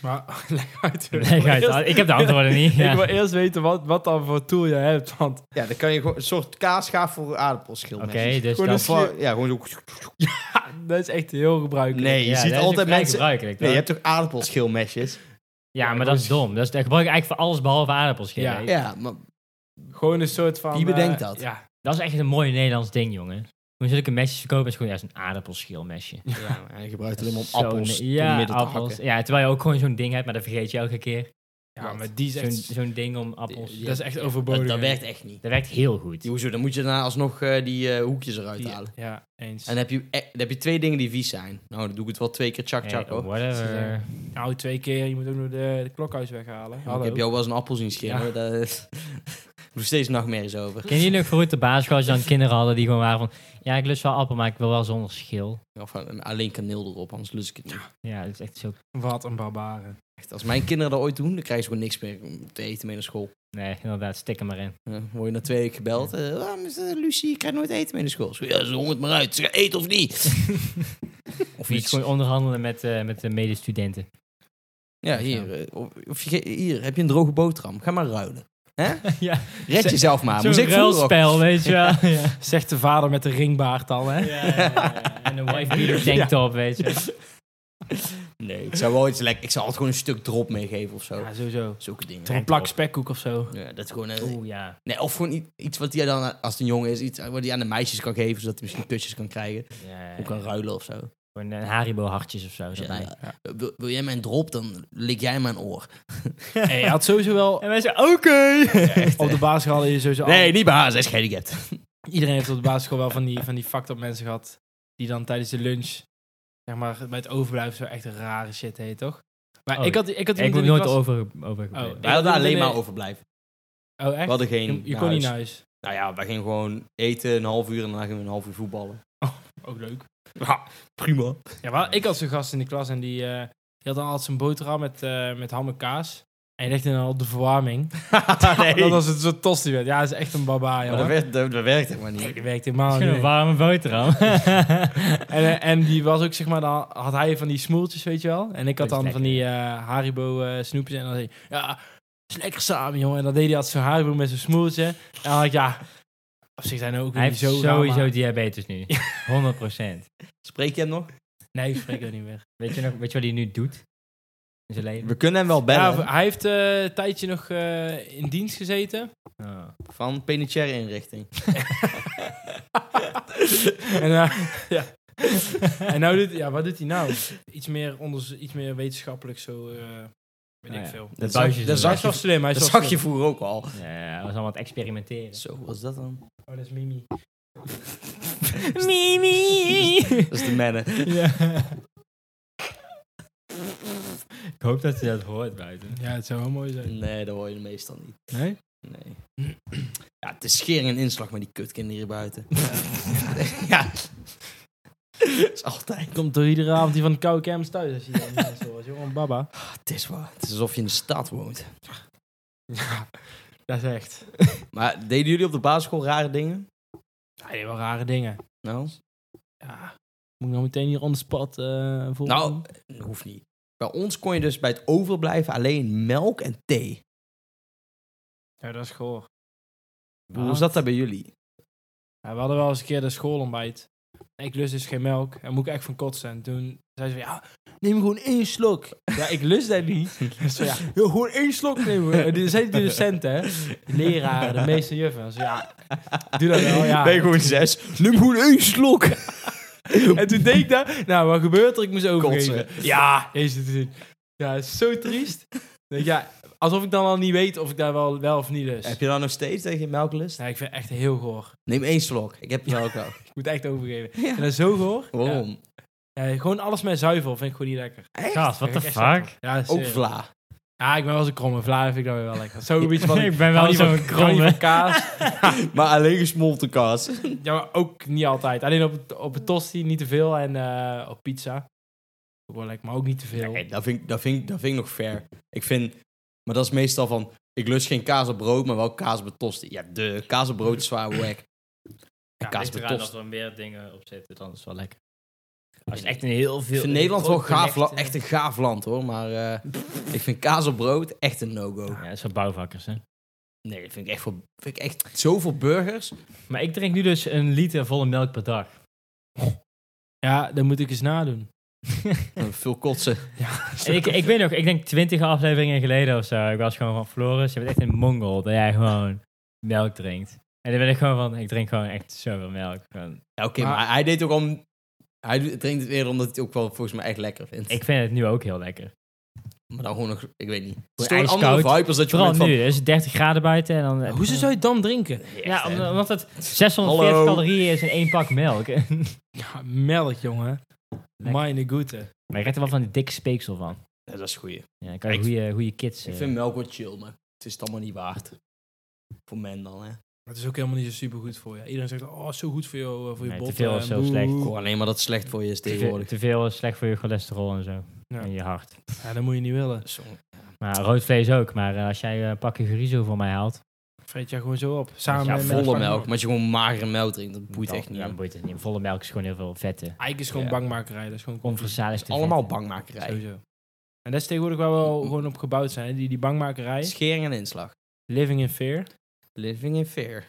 Maar leg uit. Nee, ik, uit- ik heb de antwoorden niet. Ik wil Ja. eerst weten wat, wat dan voor tool je hebt. Want Ja, dan kan je gewoon een soort kaasschaaf voor aardappelschild. Oké, dus Gewoon dat... een Ja, gewoon zo... dat is echt heel gebruikelijk. Nee, je ja, dat ziet is ook altijd vrij mensen... gebruikelijk, Nee, je toch? hebt toch aardappelschilmesjes? Ja, maar dat is dom. Dat, is, dat gebruik ik eigenlijk voor alles behalve aardappels schillen. Ja. Ja, maar Gewoon een soort van. Wie bedenkt eh, dat? Ja. Dat is echt een mooi Nederlands ding, jongen. Hoe zulke mesjes verkopen is gewoon ja, zo'n aardappelschilmesje. ja, maar je gebruikt het alleen maar Zo om appels ne- door ja, midden te appels. hakken. Ja, terwijl je ook gewoon zo'n ding hebt, maar dat vergeet je elke keer. ja, maar die is Zo'n echt. zo'n ding om appels. Die- dat is echt overbodig. Dat, dat werkt echt niet. Dat werkt heel goed. Die Hoezo, dan moet je daarna alsnog eh, die eh, hoekjes eruit Die- halen. Ja, eens. En dan heb, je, eh, dan heb je twee dingen die vies zijn. Nou, dan doe ik het wel twee keer Hey, oh, chak-chak hoor. whatever. Nou, twee keer. Je moet ook nog de, de klokhuis weghalen. ik Hallo. heb jou wel eens een appel zien schillen. Ja. Daar is- Ik heb steeds nachtmerries over. Ken je nog vroeger de basisschool als je dan kinderen hadden die gewoon waren van... Ja, ik lust wel appel, maar ik wil wel zonder schil. Of eh, alleen kaneel erop, anders lust ik het niet. Ja, dat is echt zo... Wat een barbaren. Echt, als mijn kinderen dat ooit doen, dan krijgen ze gewoon niks meer om te eten mee naar school. Nee, inderdaad, stik er maar in. Ja, dan word je na twee weken gebeld. eh, ah, mister Lucie, ik krijg nooit eten mee naar school. Zo, ja, ze hongert maar uit. Ze gaat eten of niet. of Of je moet iets. gewoon onderhandelen met, eh, met de medestudenten. Ja, hier. eh, Of, of je, ge- hier, heb je een droge boterham. Ga maar ruilen. ja, Red Zo- jezelf maar. Moest zo'n ik vroeger ook ruilspel, weet je wel. Ja, ja, Zegt de vader met de ringbaard al, hè? ja, ja. En een wife beater tanktop, weet je wel. Nee, ik zou wel iets lekker. Ik zou altijd gewoon een stuk drop meegeven of zo. Ja, sowieso. Zulke dingen. Toch een plak spekkoek of zo. Ja, dat is gewoon. eh, Oeh, ja. nee, of gewoon i- iets wat hij dan, als het een jongen is, iets wat hij aan de meisjes kan geven, zodat hij misschien kusjes kan krijgen. ja. Of kan ruilen of zo. Gewoon een Haribo hartjes of zo. Dus ja, erbij. ja. Wil, wil jij mijn drop, dan lik jij mijn oor. En je had sowieso wel. En wij zeiden, oké. Oh, Op de basisschool hadden je sowieso. Nee, niet bij haar, zij is gehandicapt. Iedereen heeft op de basisschool wel van die, van die fucked up mensen gehad. Die dan tijdens de lunch, zeg maar, bij het overblijven zo echt rare shit heet, toch? Maar Oh, ik had, ik had Ik iemand moet in die nooit klas- over, over Oh, Wij hadden dat alleen ben maar ik. overblijven. Oh, echt? We hadden geen. je je naar kon niet naar huis. huis. Nou ja, wij gingen gewoon eten een half uur en daarna gingen we een half uur voetballen. Ook leuk. Ja, prima. Ja, maar ik had zo'n gast in de klas en die, eh, die had dan altijd zijn boterham met, eh, met ham en kaas. En je legde dan op de verwarming. Ah, nee, Dat was het zo'n tosti werd. Ja, dat is echt een barbaar, maar dat, joh. werkt, dat, dat werkt helemaal niet. Nee, dat werkt helemaal Gewoon een niet. warme boterham. En, eh, en die was ook, zeg maar, dan had hij van die smoeltjes, weet je wel. En ik had Dat is dan van die eh, Haribo eh, snoepjes. En dan zei hij, ja, is lekker samen, jongen. En dan deed hij altijd zo'n Haribo met zijn smoeltje. En dan had ik, ja, op zich zijn er ook Hij niet heeft zo raar, maar- sowieso diabetes nu. 100%. Spreek je hem nog? Nee, ik spreek er niet meer. Weet je, nog, weet je wat hij nu doet? In zijn leven? We kunnen hem wel bellen. Ja, hij heeft eh, een tijdje nog eh, in dienst gezeten. Oh. Van penitentiaire inrichting. en, eh, ja. en nou doet, ja, wat doet hij nou? Iets meer, onderzo- iets meer wetenschappelijk, zo eh, weet Nou ik ja. veel. De Dat zag- buisjes. dat Hij zag is wel je, slim, hij is dat wel zag je slim. vroeger ook al. Ja, hij was allemaal aan het experimenteren. Zo, wat is dat dan? Oh, dat is Mimi. Mimi! Dat is de mannen. Ja. Ik hoop dat je dat hoort buiten. Ja, het zou wel mooi zijn. Nee, dat hoor je meestal niet. Nee? Nee. Ja, het is schering en inslag met die kutkinderen hier buiten. ja. Dat is altijd. Komt door iedere avond die van de koude kermis thuis als je dat mensen hoort. Jongen, baba. Het is waar. Het is alsof je in de stad woont. Ja, dat is echt. Maar deden jullie op de basisschool rare dingen? Ja, die wel rare dingen. Nou, Ja. Moet ik nou meteen hier on the spot eh volgen? Nou, dat hoeft niet. Bij ons kon je dus bij het overblijven alleen melk en thee. Ja, dat is goor. Hoe was dat daar bij jullie? Ja, we hadden wel eens een keer de schoolontbijt. Ik lust dus geen melk. En moet ik echt van kotsen. En toen zei ze van, ja, neem gewoon één slok. Ja, ik lust dat niet. Dus zo, ja, "Yo, gewoon één slok nemen. En dit zijn de docenten, hè. De leraren, de meeste juffen. Zo, ja, doe dat wel, ja. Ben je gewoon zes? Neem gewoon één slok. En toen deed ik dat. Nou, wat gebeurt er? Ik moest overgeven. Kotsen. Ja, deze te zien. Ja, het is zo triest. Denk, ja, alsof ik dan al niet weet of ik daar wel, wel of niet lust. Heb je dan nog steeds dat je melk lust? Ja, ik vind het echt heel goor. Neem één slok. Ik heb melk al. Ik moet echt overgeven. Ik vind dat zo goor. Waarom? Ja. Ja, gewoon alles met zuivel vind ik gewoon niet lekker. Gast, what Ja, the ik echt fuck? lekker. Ja, dat is, Ook eh, vla. Ja, ik ben wel eens een kromme vlaar, vind ik dat wel lekker. Zo een beetje van... Ik hou ben wel niet zo'n van- hou niet kromme. van kaas. Maar alleen gesmolten kaas. Ja, maar ook niet altijd. Alleen op, het- op een tosti niet te veel en eh, op pizza. Ook wel lekker, maar ook niet te veel. Nee, dat vind, ik- dat, vind, ik- dat vind ik nog fair. Ik vind... Maar dat is meestal van... Ik lust geen kaas op brood, maar wel kaas op tosti. Ja, de kaas op brood is zwaar wack. En kaas op tosti. er meer dingen op zitten, dan is het wel lekker. Als je echt een heel Ik veel... vind Nederland wel gaaf, la- gelegd, eh, echt een gaaf land hoor, maar eh, ik vind kaas op brood echt een no-go. Ja, dat is voor bouwvakkers, hè. Nee, dat vind ik echt, voor, vind ik echt zoveel burgers. Maar ik drink nu dus een liter volle melk per dag. Ja, dat moet ik eens nadoen. Eh, Veel kotsen. En ik, ik weet nog, ik denk twintig afleveringen geleden of zo. Ik was gewoon van Floris, je bent echt een mongol dat jij gewoon melk drinkt. En dan ben ik gewoon van, ik drink gewoon echt zoveel melk. Gewoon, Ja, Oké, Maar- maar, hij deed ook om... Hij doet- drinkt het weer omdat hij het ook wel volgens mij echt lekker vindt. ik vind het nu ook heel lekker. maar dan gewoon nog, ik weet niet. Het is Gewoon toch een andere ijskoud. vibe als dat je Vooral bent van... nu, er is 30 graden buiten. En dan, heb Hoe Eh, je- zou je het dan drinken? Echt, Ja, hè? om- omdat het 640 Hallo. calorieën is in één pak melk. Ja, melk, jongen. Lekker. Meine Gute. maar je krijgt er wel van die dikke speeksel van. Ja, dat is goeie. Ja, dan kan je Ik- goede, goede kids. Ik eh, vind melk wel chill, maar het is het allemaal niet waard. Voor men dan, hè. Maar het is ook helemaal niet zo super goed voor je. Iedereen zegt, oh, zo goed voor jou, eh, voor je Nee, te botten. veel is en zo boe. slecht. Gewoon alleen maar dat het slecht voor je is te veel- tegenwoordig. te veel is slecht voor je cholesterol en zo. Ja. En je hart. Ja, dat moet je niet willen. Zo- Maar rood vlees ook. Maar eh, als jij eh, een pakje gerizo voor mij haalt... Vreet jij gewoon zo op. Samen Ja, met Volle melk, maar als je gewoon magere melk drinkt, dat boeit dan- echt niet. dan boeit het niet. Volle melk is gewoon heel veel vetten. Eigenlijk is gewoon Ja. bangmakerij. Dat is gewoon Onverzadigd te Allemaal bangmakerij. Sowieso. En dat is tegenwoordig waar we al gewoon op gebouwd zijn. hè. Die, die bangmakerij. Schering en inslag. Living in fear. Living in fear.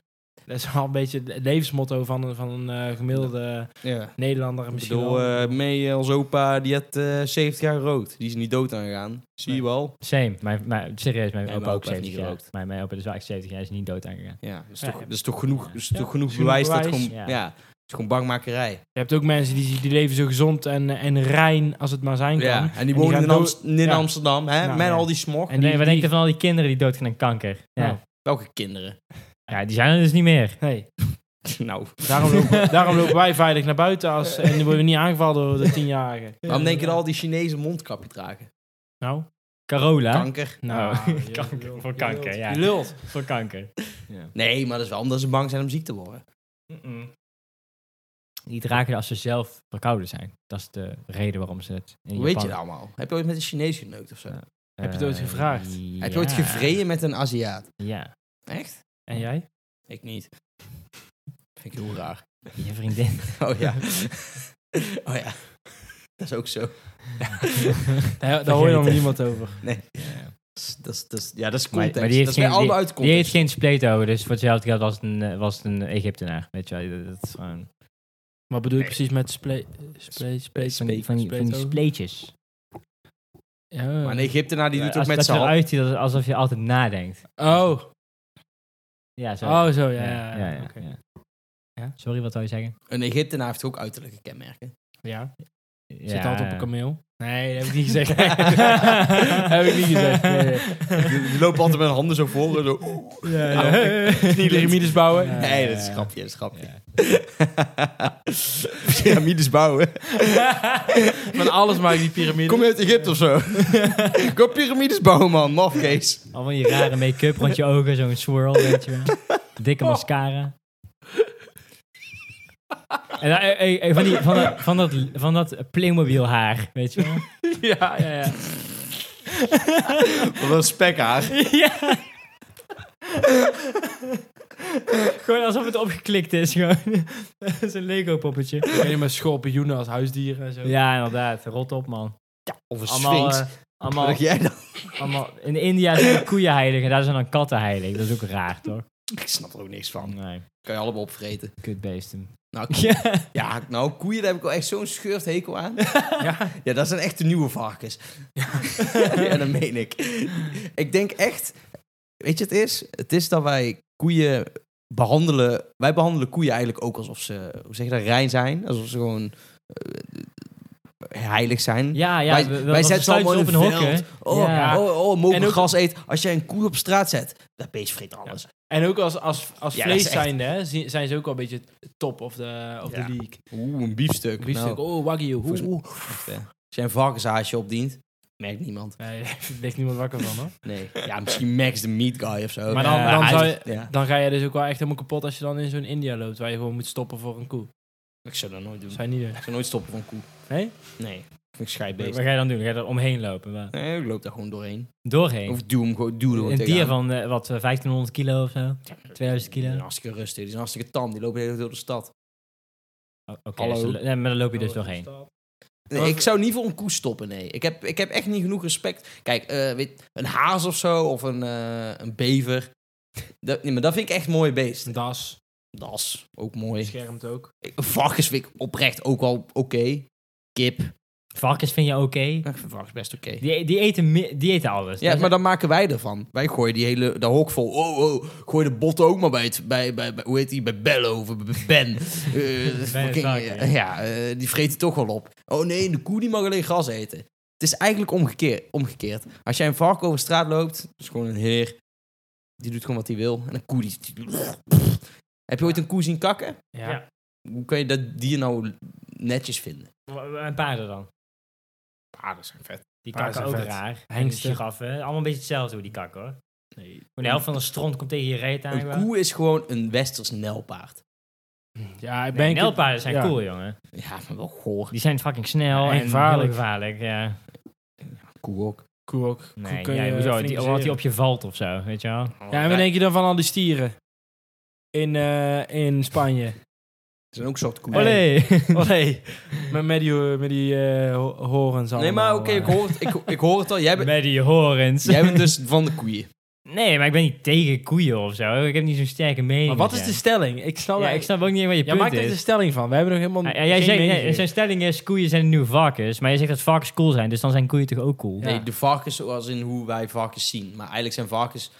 Dat is al een beetje het levensmotto van een, van een eh, gemiddelde Ja. Nederlander. Ik Misschien bedoel, wel. eh, mee eh, als opa, die had eh, 70 jaar rood. Die is niet dood aangegaan. Zie je Nee. wel? Same. Mijn, mijn, serieus, mijn Ja, opa mijn ook opa heeft 70 niet jaar. gerookt. Mijn, mijn opa is wel echt 70 jaar, is niet dood aangegaan. Ja, dat is Ja. toch, dat is toch genoeg, dat is Ja. toch genoeg Genoeg bewijs dat het bewijs. gewoon, ja. Ja. het is gewoon bangmakerij. Je hebt ook mensen die, die leven zo gezond en, en rein als het maar zijn kan. Ja. En die En die wonen gaan in, dood- Amst- in Ja. Amsterdam, hè? Nou, met ja. al die smog. En En die- nee, wat denk je die- van al die Oh. kinderen die doodgaan aan kanker? Ja. Nou. Welke kinderen? ja, die zijn er dus niet meer. Nee, nou, daarom lopen, daarom lopen wij veilig naar buiten als, en dan worden we niet aangevallen door de tienjarigen. waarom denk je dat al die Chinezen mondkapje dragen? Nou, Carola. Kanker? nou Oh, je kanker, lult, voor je kanker, lult, ja. Je lult. Voor kanker. Nee, maar dat is wel omdat ze bang zijn om ziek te worden. Die dragen als ze zelf verkouden zijn. Dat is de reden waarom ze het in Hoe weet je Japan- dat allemaal? Heb je ooit met een Chinees geneukt of zo? Ja. Heb je het ooit Eh, gevraagd? Heb je ooit ja. gevreden met een Aziat? Ja. Echt? En jij? Ik niet. Vind ik heel raar. Je vriendin. Oh ja. oh ja. Dat is ook zo. Daar, daar hoor je nog niemand over. Dat is, dat is, dat is- ja, dat is Maar- maar context. die heeft dat is bij geen- allemaal uit Die context. heeft geen spleet over, dus voor hetzelfde geld was het een, eh, was het een Egyptenaar. Weet je wel, dat is gewoon... Wat bedoel je Nee. precies met sple- sple- sple- Van, die- van, die- van die spleetogen? spleetjes. Ja. Maar een Egyptenaar die doet Als- ook met dat zijn hand. eruit ziet als- alsof je altijd nadenkt. Oh, Ja, zo. oh zo, ja. Ja, Ja, ja, ja, oké. ja. Ja? Sorry, wat zou je zeggen? Een Egyptenaar heeft ook uiterlijke kenmerken. Ja, Ja, zit altijd op een kameel. Nee, dat heb ik niet gezegd. gezegd. heb ik niet gezegd. Nee, nee. Die, die loopt altijd met hun handen zo voor. en Zo. Ja, ja. Pyramides bouwen. Ja. Nee, dat is een grapje, dat is een grapje. Ja. Pyramides bouwen. Van alles maak ik die piramide. Kom je uit Egypte of zo? Kom piramides bouwen, man. Mafkees. Allemaal die rare make-up rond je ogen, zo'n swirl, weet je wel. Dikke mascara. En dan, eh, eh, eh, van, die, van, dat, van, dat, van dat Playmobil haar, weet je wel. Ja, ja, ja. Wat een spekhaar. ja. gewoon alsof het opgeklikt is, gewoon. dat is een Lego poppetje. Helemaal schorpioenen als huisdieren en zo. Ja, inderdaad. Rot op, man. Of een Allemaal, sphinx. eh, Wat allemaal, dacht jij dan? allemaal, in India zijn er koeien heilig en daar zijn dan katten heilig. Dat is ook raar, toch? Ik snap er ook niks van. Nee, Kan je allemaal opvreten. kutbeesten. Nou, k- Ja. ja, nou, koeien, daar heb ik wel echt zo'n scheurt hekel aan. Ja. Ja, dat zijn echt de nieuwe varkens. ja, dat meen ik. Ik denk echt... Weet je het is? Het is dat wij koeien behandelen... Wij behandelen koeien eigenlijk ook alsof ze... Hoe zeg je dat? Rein zijn. Alsof ze gewoon... eh, heilig zijn. Ja, ja. wij we- we- wij we zetten ze allemaal in sluiten een ze op een veld. hok, hè? Oh, Ja. oh, oh, mogen En ook- gras eten. Als jij een koe op straat zet, dat beest vreet alles. En ook als, als, als Ja, dat is vlees echt- zijnde, hè, zi- zijn ze ook wel een beetje top of de, of Ja. de league. Oeh, een biefstuk. Biefstuk, Nou, oh, wagyu. volgens- Oeh. echt, hè. Als jij een varkenshaasje opdient, merkt niemand. Nee, daar ligt niemand wakker van, hoor. Nee. Ja, misschien Max de Meat Guy of zo. Maar dan, Ja, dan, hij- zou je, Ja, dan ga je dus ook wel echt helemaal kapot als je dan in zo'n India loopt, waar je gewoon moet stoppen voor een koe. ik zou dat nooit doen. Dat zou je niet doen. Ik zou nooit stoppen van koe. Nee? Nee. Vind ik Wat scheidbeest. ga je dan doen? Ga je er omheen lopen? Waar- Nee, ik loop daar gewoon doorheen. Doorheen? Of duw hem gewoon, duw er gewoon Een dier tegenaan. van, eh, wat, eh, 1500 kilo of zo? 2000 Die zijn kilo? hartstikke rustig. Die zijn hartstikke tam. Die lopen de hele tijd door de stad. Oh, Oké, Hallo. dus dan- nee, maar dan loop je dus doorheen. Nee, ik zou niet voor een koe stoppen, nee. Ik heb, ik heb echt niet genoeg respect. Kijk, eh, weet, een haas of zo, of een, eh, een bever. Dat, nee, maar dat vind ik echt mooie beesten. Een das, Dat is ook mooi. beschermt ook. Ik- Varkens vind ik oprecht ook wel oké. Kip. Varkens vind je oké? Ik vind varkens best oké. Die, die, eten, mi- die eten alles. Ja, Dat maar dan maken wij ervan. Wij gooien die hele dat hok vol. Oh, oh, gooi de botten ook maar bij, het, bij, bij, bij- hoe heet die, bij Bello of bij Ben. Eh, fucking, varken, ja. eh, ja, eh, die vreet het toch wel op. Oh nee, de koe die mag alleen gras eten. Het is eigenlijk omgekeerd. omgekeerd. Als jij een varken over straat loopt, dat is gewoon een heer. Die doet gewoon wat hij wil. En een koe die... die- Heb je ooit een koe zien kakken? Ja. Ja. Hoe kan je dat dier nou netjes vinden? is- En paarden dan? Paarden zijn vet. Die Paarden kakken ook zijn vet. raar. Hengsten. Hengsten. Giraffen. Allemaal een beetje hetzelfde hoe die kakken hoor. Nee. Gewoon de helft van de stront komt tegen je reet aan. Een koe is gewoon een westers nelpaard. Ja, ik ben Nee, een keer- nelpaarden zijn ja. cool jongen. Ja, maar wel goor. Die zijn fucking snel Ja, en en, gevaarlijk. heel gevaarlijk. Ja. Koe ook. Koe ook. Koe Nee, kun ja, je hoezo? flink Die, omdat die bezeren. op je valt of zo, weet je wel. Ja, en wat denk je dan van al die stieren? In, eh, in Spanje. Het zijn ook soort koeien. Olé! Olé. met, met die, eh, met die eh, ho- horens allemaal. eh. Nee, maar oké, ik, hoor het- ik, ik hoor het al. Jij, bent- Bij die horens. jij bent dus van de koeien. Nee, maar ik ben niet tegen koeien of zo. Ik heb niet zo'n sterke mening. Maar wat is ja. de stelling? Ik snap, Ja, ik ik snap ook niet wat je Jij punt maakt er een is. stelling van. We hebben nog helemaal Ja, ja, jij geen zegt, mening nee, zijn stelling is, koeien zijn de nieuwe varkens. Maar je zegt dat varkens cool zijn, dus dan zijn koeien toch ook cool? Ja. Nee, de varkens zoals in hoe wij varkens zien. Maar eigenlijk zijn varkens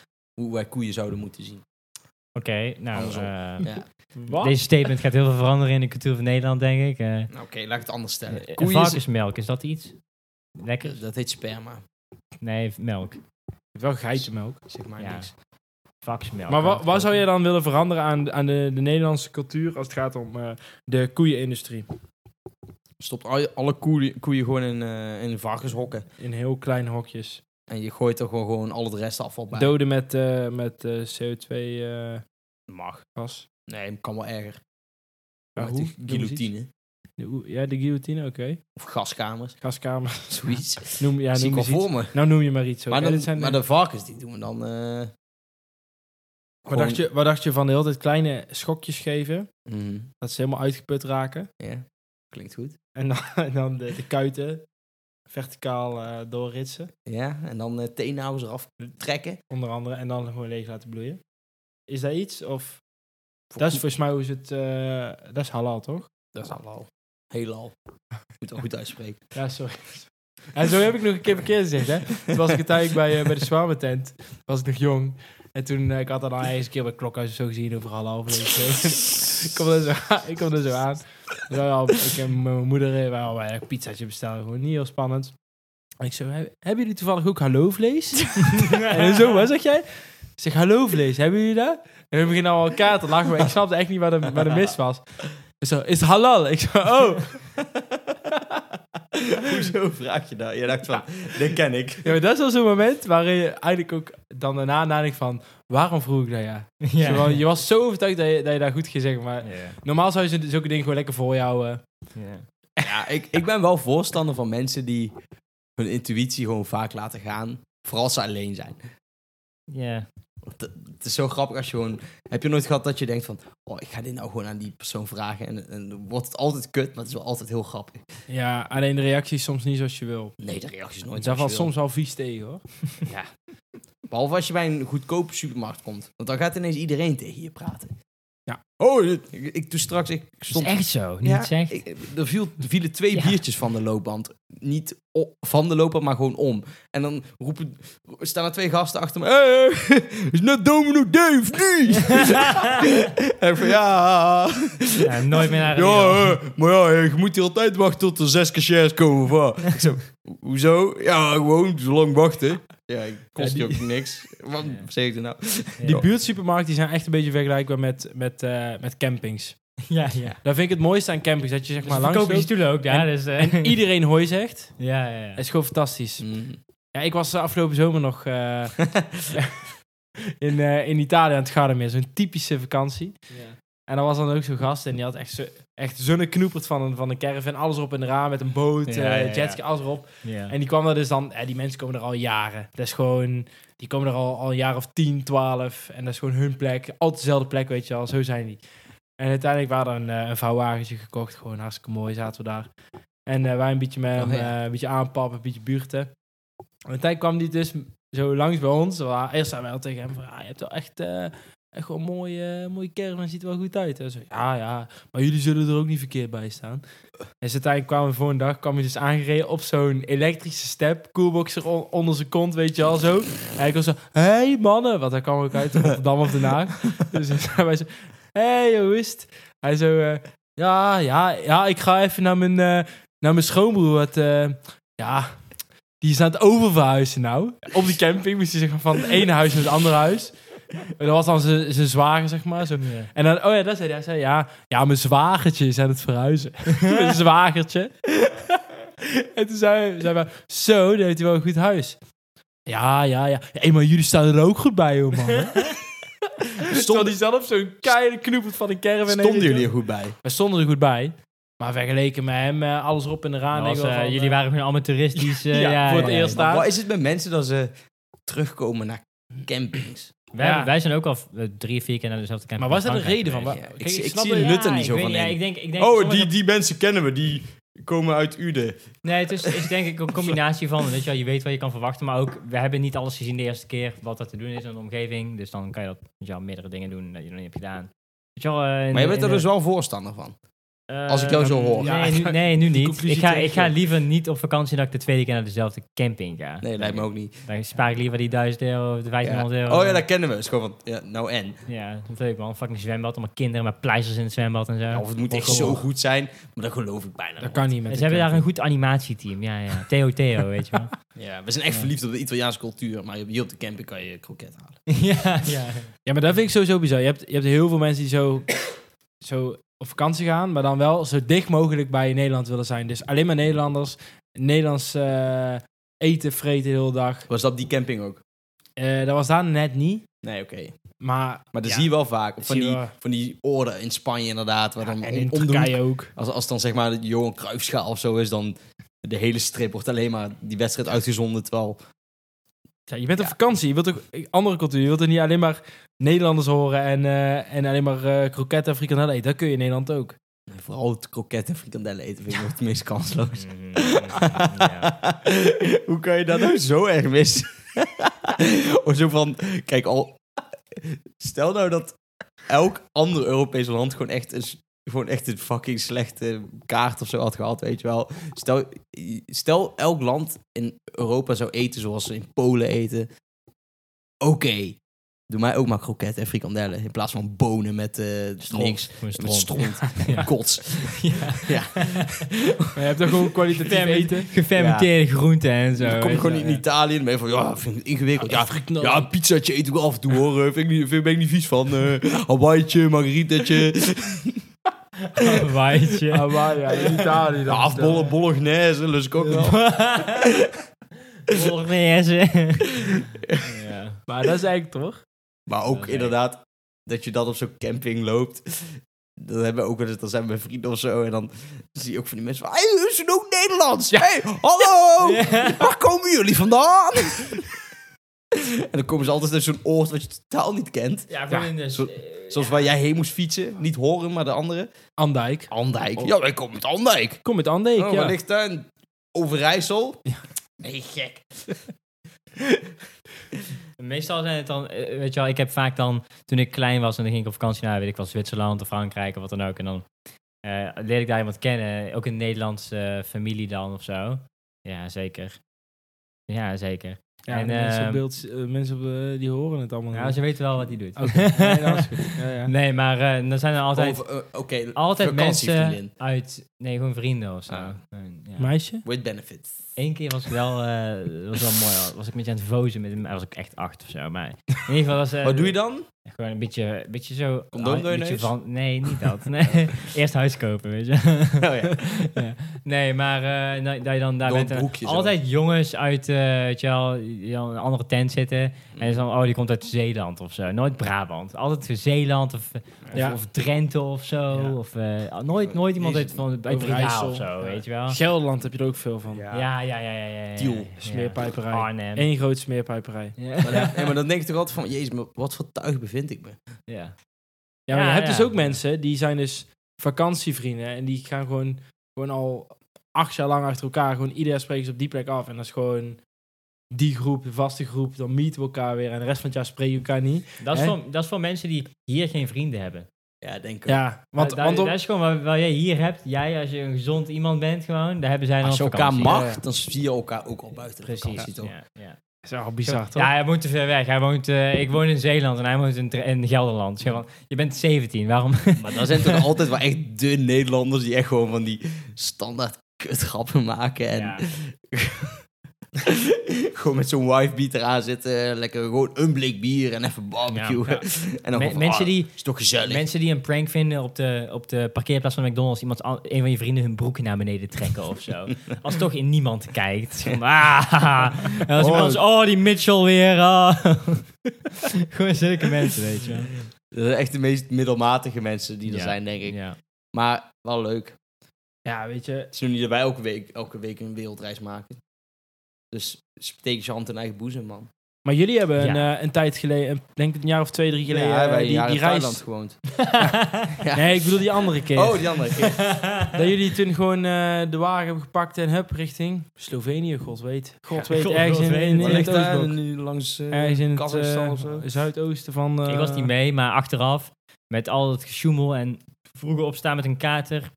hoe wij koeien zouden moeten zien. Oké, nou, Andersom. eh, Ja. gegeven. Wat? deze statement gaat heel veel veranderen in de cultuur van Nederland, denk ik. Eh, Nou, oké, laat ik het anders stellen. eh, Koeien varkensmelk, is dat iets? Lekker? is- dat heet sperma. Nee, melk. Wel geitenmelk. Zeg maar Ja. niks. Varkensmelk. Maar wa- Ja, wat zou je dan willen veranderen aan, aan de, de Nederlandse cultuur als het gaat om eh, de koeienindustrie? Stopt al- alle koeien, koeien gewoon in, eh, in varkenshokken. In heel kleine hokjes. En je gooit er gewoon, gewoon al het restafval bij. Doden met, eh, met eh, CO2 eh, Mag. gas. Nee, kan wel erger. Ja, Met hoe? de Noem eens iets. guillotine. De oe- ja, de guillotine, oké. Of gaskamers. Gaskamer. Zoiets. Noem, ja, Zie ik noem wel eens iets. voor me. Nou noem je maar iets. Maar, oké? dan, Dit zijn de- maar de varkens, die doen we dan... eh wat, gewoon- dacht je, wat dacht je van de hele tijd kleine schokjes geven? Mhm, Dat ze helemaal uitgeput raken. ja, klinkt goed. En dan, en dan de, de kuiten verticaal eh, doorritsen, Ja, en dan eh teenhouders eraf trekken. onder andere. En dan gewoon leeg laten bloeien. Is dat iets? Of, Voor dat is koe- volgens mij hoe ze het... eh, dat is halal, toch? Dat is halal. Heelal. Moet het goed uitspreken. Ja, sorry. En zo heb ik nog een keer verkeerd gezegd, hè. Toen was ik uiteindelijk bij, eh, bij de Zwabertent. Was ik nog jong. En toen, eh, ik had dat al eens een keer bij Klokhuis of zo gezien, over half weet ik veel. ik kom er zo aan. Ik kom er zo aan. Dus wij al- ik en mijn moeder eh, wij al bij een pizzaatje bestellen. Gewoon niet heel spannend. En ik zo, "Heb- hebben jullie toevallig ook hallo vlees? en zo, wat zeg jij? Ik zeg, hallo vlees, hebben jullie dat? En we beginnen al elkaar te lachen, maar ik snapte echt niet waar de, waar de mis was. Ik zo, is het halal? Ik zo, oh. Hoezo vraag je dat? Je dacht van, dat ken ik. Ja, maar dat is wel zo'n moment waarin je eigenlijk ook dan daarna nadenkt van... Waarom vroeg ik dat ja? Ja. Zo van, je was zo overtuigd dat je, dat je dat goed ging zeggen. Maar Ja. normaal zou je zo- zulke dingen gewoon lekker volhouden. Ja. Ja, ik, ik ben wel voorstander van mensen die hun intuïtie gewoon vaak laten gaan. Vooral als ze alleen zijn. Ja. Want het- Het is zo grappig als je gewoon... Heb je nooit gehad dat je denkt van... Oh, ik ga dit nou gewoon aan die persoon vragen. En, en dan wordt het altijd kut, maar het is wel altijd heel grappig. Ja, alleen de reactie is soms niet zoals je wil. Nee, de reactie is nooit Daar valt seksueel. soms wel vies tegen, hoor. Behalve als je bij een goedkope supermarkt komt. Want dan gaat ineens iedereen tegen je praten. Ja. Oh, dit- ik, ik doe straks... Ik Is stond, echt zo. Niet Ja, echt. ik- er, viel, er vielen twee Ja. biertjes van de loopband. Niet o- van de loopband, maar gewoon om. En dan roepen, staan er twee gasten achter me. Hey, is net Domino Dave niet? en ik van, ja... Ja, nooit meer naar de Ja, Lidl. hè, maar ja, je moet hier altijd wachten tot er zes cashiers komen. Of wat? Ik zo, hoezo? Ja, gewoon zo lang wachten. Ja, kost je Ja, die- ook niks. Wat Ja. zeg ik er nou? Ja. Die buurtsupermarkten die zijn echt een beetje vergelijkbaar met, met, eh, met campings. Ja, ja. Daar vind ik het mooiste aan campings. Dat je zeg maar Maar langs verkopen die loopt stoelen ook daar. dus, eh, en iedereen hooi zegt. ja, ja, ja. Dat is gewoon fantastisch. Mm. Ja, ik was de afgelopen zomer nog eh, in, eh, in Italië aan het Gardameer. Zo'n typische vakantie. En dan was dan ook zo'n gast en die had echt, zo, echt zonneknoeperd van een, van een caravan. Alles op en raam met een boot, Ja, eh, ja, ja. jetski, alles erop. Ja. En die kwam daar dus dan... eh, die mensen komen er al jaren. Dat is gewoon... Die komen er al, al een jaar of tien, twaalf. En dat is gewoon hun plek. Altijd dezelfde plek, weet je wel. Zo zijn die. En uiteindelijk waren er een, eh, een vouwwagentje gekocht. Gewoon hartstikke mooi zaten we daar. En eh, wij een beetje, met, hem, Oh, ja. eh, een beetje aanpappen, een beetje buurten. En uiteindelijk kwam die dus zo langs bij ons. Wa- Eerst zijn wij al tegen hem van... Ah, je hebt wel echt... eh, Echt wel een mooie, eh, mooie caravan, ziet er wel goed uit. Hij zo, ja, ja, maar jullie zullen er ook niet verkeerd bij staan. En ze uiteindelijk kwamen voor een dag, kwam hij dus aangereden op zo'n elektrische step, coolboxer on- onder zijn kont, weet je al zo. En hij kwam zo, hey mannen, want hij kwam ook uit Rotterdam of Den Haag. Dus hij zei wij zo, hey, hoe is het? Hij zo, eh, ja, ja, ja, ik ga even naar mijn, eh, naar mijn schoonbroer, wat, eh, ja, die is aan het oververhuizen nou. Op die camping moest hij zeggen van het ene huis naar het andere huis. En Dat was dan zijn zijn zwager, zeg maar. Zo. Ja. En dan, oh ja, dat zei hij. Hij zei, ja, ja mijn zwagertje is aan het verhuizen. mijn zwagertje. en toen zei hij, zei hij, zo, dan heeft hij wel een goed huis. Ja, ja, ja. Hé, maar jullie staan er ook goed bij, hoor, man. Stond hij zelf zo'n keiharde knoepert van een caravan. heen, Stonden weet je jullie wel. er goed bij? We stonden er goed bij. Maar vergeleken met hem, eh, alles erop en eraan. Nou, denk als, ik wel eh, van, jullie eh, waren gewoon allemaal toeristisch. eh, Ja, ja, voor het ja, eerst ja. daar. Wat is het met mensen dat ze terugkomen naar campings? Wij, Ja. hebben- wij zijn ook al eh, drie, vier keer naar dezelfde camping. Maar was in dat de Frankrijk reden van? geweest. Wa- ik kijk, zie- ik snap zie dat- de nut er niet ik zo weet van Oh, Ja, in. ik denk, ik denk sommige- Oh, die mensen kennen we. Die komen uit Uden. Nee, het is, is denk ik een combinatie van, weet je, wel, je weet wat je kan verwachten, maar ook, we hebben niet alles gezien de eerste keer, wat er te doen is in de omgeving, dus dan kan je dat, weet je wel, meerdere dingen doen dat je nog niet hebt gedaan. Weet je wel, eh, in- Maar je bent in er dus de- wel voorstander van. eh, als ik jou zo hoor. Ja, Nee, nu, nee, nu niet. conclusie Ik ga, trek ik ik ga wel. liever niet op vakantie dat ik de tweede keer naar dezelfde camping ga. Nee, lijkt me ook niet. Dan spaar ik liever die 1000 euro of de Ja. 1500 euro. Oh ja, dat kennen we. Is gewoon van, ja, nou en? Ja, dat is leuk man. Fucking zwembad, allemaal kinderen met pleisters in het zwembad en zo. Of het moet echt Gewoon. zo goed zijn, maar dat geloof ik bijna Dat niet. kan niet met En de Ze hebben daar camping. een goed animatieteam, ja, ja. Theo Theo, weet je wel. Ja, we zijn echt Ja. verliefd op de Italiaanse cultuur, maar hier op de camping kan je kroket halen. ja, ja. Ja, maar dat vind ik sowieso bizar. Je hebt, je hebt heel veel mensen die zo, zo op vakantie gaan, maar dan wel zo dicht mogelijk bij Nederland willen zijn. Dus alleen maar Nederlanders, Nederlands eh, eten, vreten de hele dag. Was dat op die camping ook? Eh, dat was daar net niet, Nee, oké. maar... Maar dat ja, zie je wel vaak. Van zie die, je wel. van die orde in Spanje inderdaad. Waar dan en om- in om de hoek- Turkije ook. als, als dan zeg maar de Johan Cruijffschaal of zo is, dan de hele strip wordt alleen maar die wedstrijd uitgezonden. Terwijl, Ja, je bent op Ja. vakantie, je wilt ook andere cultuur. Je wilt er niet alleen maar Nederlanders horen en, eh, en alleen maar eh kroketten en frikandellen eten. Dat kun je in Nederland ook. vooral het kroket en frikandellen eten vind ik nog het meest kansloos. Mm, ja. Hoe kan je dat nou zo erg missen? of zo van, kijk al, stel nou dat elk ander Europees land gewoon echt een s- gewoon echt een fucking slechte kaart of zo had gehad, weet je wel. Stel, stel elk land in Europa zou eten zoals ze in Polen eten. Oké, doe mij ook maar kroketten en frikandellen in plaats van bonen met eh, niks. Gewoon Met stront. stront, Ja. kots. Ja. Ja. Maar je hebt dan gewoon kwalitatief Gefermen- eten. Gefermenteerde groenten en zo. Dan kom je weet gewoon wel, in ja. Italië en ben je van, ja, vind ik ingewikkeld. Ja, frikandel. ja, een pizzaatje eet ik wel af en toe hoor. Eh, Vind ik niet, vind, ben ik niet vies van. eh Hawaii'tje, margaritaatje. Waaitje. Ah, maar ja, in Italië Ja, dan. Eh, afbollen, bolognese, lust ik ook wel. Bolognese. ja. Maar dat is eigenlijk toch? Maar Ja, ook nee. inderdaad, dat je dan op zo'n camping loopt. Dat hebben we ook wel eens, dan zijn mijn vrienden of zo. En dan zie je ook van die mensen van, hey, ze doen ook Nederlands. Hey, hallo, Ja. waar komen jullie vandaan? en dan komen ze altijd naar zo'n oord wat je totaal niet kent. Ja, gewoon in de... zo- Zoals waar jij heen moest fietsen. Niet horen, maar de andere. Andijk. Andijk. Ja, wij komen uit Andijk. Kom met Andijk, Oh, ja. waar ligt daar? een Overijssel? Nee, gek. Meestal zijn het dan, eh, weet je wel, ik heb vaak dan, toen ik klein was en dan ging ik op vakantie naar, weet ik wel, Zwitserland of Frankrijk of wat dan ook. En dan eh leerde ik daar iemand kennen, ook een Nederlandse eh, familie dan of zo. Ja, zeker. Ja, zeker. Ja, En, de mensen, ehm, op beeld, eh, mensen op, eh, die horen het allemaal. Nou, niet. ze weten wel wat hij doet. Oké, nee, dat is goed. Ja, ja. Nee, maar eh, dan zijn er altijd, Over- eh, Oké, altijd mensen vakantievriendin. uit, nee, gewoon vrienden of zo. Ah. En, ja. Meisje? With benefits. Eén keer was ik wel, eh, was wel mooi, was ik met je aan het vozen, met, maar was ik echt acht of zo. Maar in ieder geval was... eh, Wat doe je dan? Gewoon een beetje, een beetje zo... Condoom ah, door je beetje neus? Van, nee, niet dat. Nee. Eerst huis kopen, weet je. Oh, ja. Ja. Nee, maar eh, nou, dat je dan daar Door bent. het en broekje zo. altijd jongens uit, eh weet je wel, die dan in een andere tent zitten. En dan, oh, die komt uit Zeeland of zo. Nooit Brabant. Altijd Zeeland of, of, Ja. of Drenthe of zo. Ja. Of, eh, nooit, nooit iemand uit, Jezus. van, uit Breda Overijssel. of zo, Ja. weet je wel. Gelderland heb je er ook veel van. Ja, ja, ja, ja. ja, ja, ja. Tiel, Ja. smeerpijperij. Arnhem. Eén groot smeerpijperij. Ja. Maar dan, nee, maar dan denk ik toch altijd van, jezus, maar wat voor tuig bevind ik me? Ja. Ja, maar Ja, je hebt ja. dus ook mensen die zijn dus vakantievrienden en die gaan gewoon, gewoon al acht jaar lang achter elkaar, gewoon ieder spreken ze op die plek af. En dat is gewoon die groep, de vaste groep, dan meeten we elkaar weer en de rest van het jaar spreken we elkaar niet. Dat, is Hè? voor, dat is voor mensen die hier geen vrienden hebben. Ja, denk ik. Ja, want, Want, dat, want op- dat is gewoon wat, wat jij hier hebt. Jij, als je een gezond iemand bent, gewoon, daar hebben zij dan Als je op elkaar vakantie. mag, Ja, ja. dan zie je elkaar ook al buiten de Precies. vakantie, toch? Ja, ja. dat is wel bizar toch? ja, hij woont te ver weg. Hij woont, eh, ik woon in Zeeland en hij woont in, Dre- in Gelderland. Zeg maar, je bent 17, waarom? Maar dan zijn toch altijd wel echt de Nederlanders die echt gewoon van die standaard kutgrappen maken. En Ja. gewoon met zo'n wife eraan zitten. Lekker gewoon een blik bier en even barbecuen. Ja, En dan Me- gewoon van, mensen ah, die- is toch gezellig. Mensen die een prank vinden op de, op de parkeerplaats van McDonald's, iemand, an- een van je vrienden hun broeken naar beneden trekken of zo. Als toch in niemand kijkt. Van, ah, en als iemand is, oh, die Mitchell weer. ah. gewoon zulke mensen, weet je. wel. Dat zijn echt de meest middelmatige mensen die er Ja. zijn, denk ik. Ja. Maar wel leuk. Ja, weet je, Het is nu niet dat wij elke week, elke week een wereldreis maken. Dus steek je hand in eigen boezem, man. maar jullie hebben een, Ja. eh, een tijd geleden, een- denk ik een jaar of twee, drie geleden, eh, wij die, jaren die in Thailand reis. gewoond. Ja. Nee, ik bedoel die andere keer. Oh, die andere keer. Dat jullie toen gewoon eh, de wagen hebben gepakt en hup, richting Slovenië, god weet. God Ja, weet, God ergens in, weet. in, in Waar Wat het ligt daar Oostblok. nu langs eh, Ergens in het Kazachstan eh, of zo? zuidoosten van... eh, Ik was niet mee, maar achteraf met al dat gesjoemel en vroeger opstaan met een kater.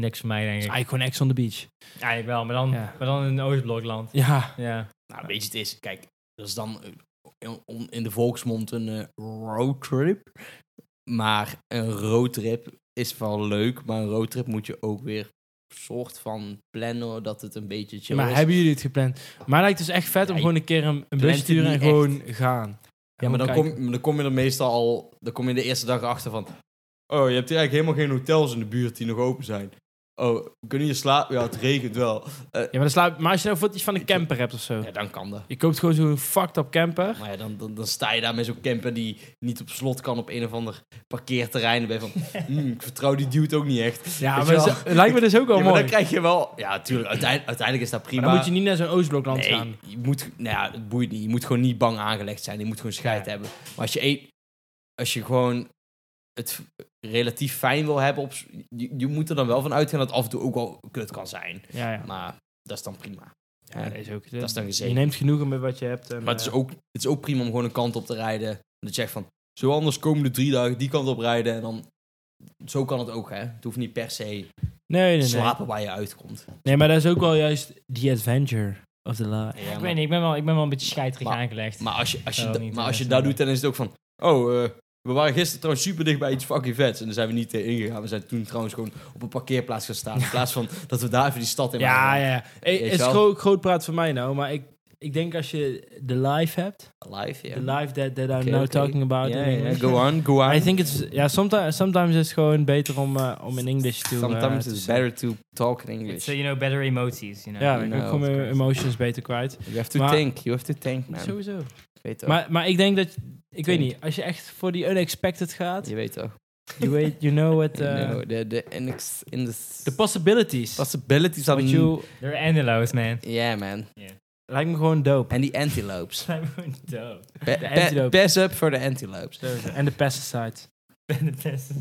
Niks voor mij, denk is ik. Eigenlijk gewoon Ah, Ex on the Beach. Eigenlijk wel, maar dan, Ja. maar dan in Oostblokland. Ja, Ja. Nou, weet je, het is, kijk, dat is dan eh, in- on- in de volksmond een eh, roadtrip. Maar een roadtrip is wel leuk, maar een roadtrip moet je ook weer soort van plannen dat het een beetje chill maar is. hebben jullie het gepland? Maar het lijkt dus echt vet om Ja, gewoon een keer een, een plant bus het sturen en niet gewoon gaan. Ja, maar dan kijken. kom, dan kom je er meestal al, dan kom je de eerste dag achter van, oh, je hebt hier eigenlijk helemaal geen hotels in de buurt die nog open zijn. Oh, we kunnen hier slapen? Ja, het regent wel. Ja, maar, dan slaap, maar als je nou voor iets van een camper hebt of zo. Ja, dan kan dat. Je koopt gewoon zo'n fucked up camper. Maar ja, dan, dan, dan sta je daar met zo'n camper die niet op slot kan op een of ander parkeerterrein. En ben je van, "Hmm, ik vertrouw die dude ook niet echt. Ja, Weet maar je wel? zo- het lijkt me dus ook wel Ja, maar mooi. dan krijg je wel... Ja, tuurlijk, uiteindelijk, uiteindelijk is dat prima. Maar dan moet je niet naar zo'n Oostblokland nee, gaan. Je moet, nou ja, het boeit niet. Je moet gewoon niet bang aangelegd zijn. Je moet gewoon scheid Ja. hebben. Maar als je, eet, als je gewoon het relatief fijn wil hebben... Op, s- je, je moet er dan wel van uitgaan dat het af en toe ook wel kut kan zijn. Ja, ja. Maar dat is dan prima. ja dat is ook, is dan gezegd. Je neemt genoegen met wat je hebt. En, Maar het is, eh, ook, het is ook prima om gewoon een kant op te rijden. En dat je zegt van, zo anders komen de drie dagen die kant op rijden. En dan zo kan het ook, hè. Het hoeft niet per se Nee, nee, nee. slapen waar je uitkomt. Nee, maar dat is ook wel juist the adventure of the life. Ja, Ik maar- weet niet, ik ben wel, ik ben wel een beetje scheiterig Maar- aangelegd. Maar als je, als je, Zou da- niet maar als je best zijn. dat doet, dan is het ook van... Oh, eh, we waren gisteren trouwens super dicht bij iets fucking vets. En daar zijn we niet tegen ingegaan. We zijn toen trouwens gewoon op een parkeerplaats gaan staan. In plaats van dat we daar even die stad in Ja, waren. ja. ja. Hey, Weet je het is wel? groot, groot praat van mij nou, maar ik, ik denk als je de life hebt, Live, ja. the life that, that I'm Oké, now oké. talking about. Ja, in ja, English. go on, go on. I think it's, ja, sometimes, sometimes is het gewoon beter om, eh, om in English te Sometimes eh, it's te- better to talk in It's, English. uh, you know, better emoties, you know. Ja, you dan kan ik know, gewoon of mijn course. emotions beter kwijt. You have to Maar- think. You have to think, man. Je Sowieso. weet toch. Maar, maar ik denk dat, ik weet Denk. niet, als je echt voor die unexpected gaat, Je weet toch. you, wait, you know what, You eh, know, the, the, inex- in the the possibilities. possibilities are... What you, They're antelopes, man. Yeah, man. lijkt me gewoon dope. En die antelopes. Zijn we dood. Be- De be- antelope. Pass up voor de antelopes. En de pesticides. Ben het beste.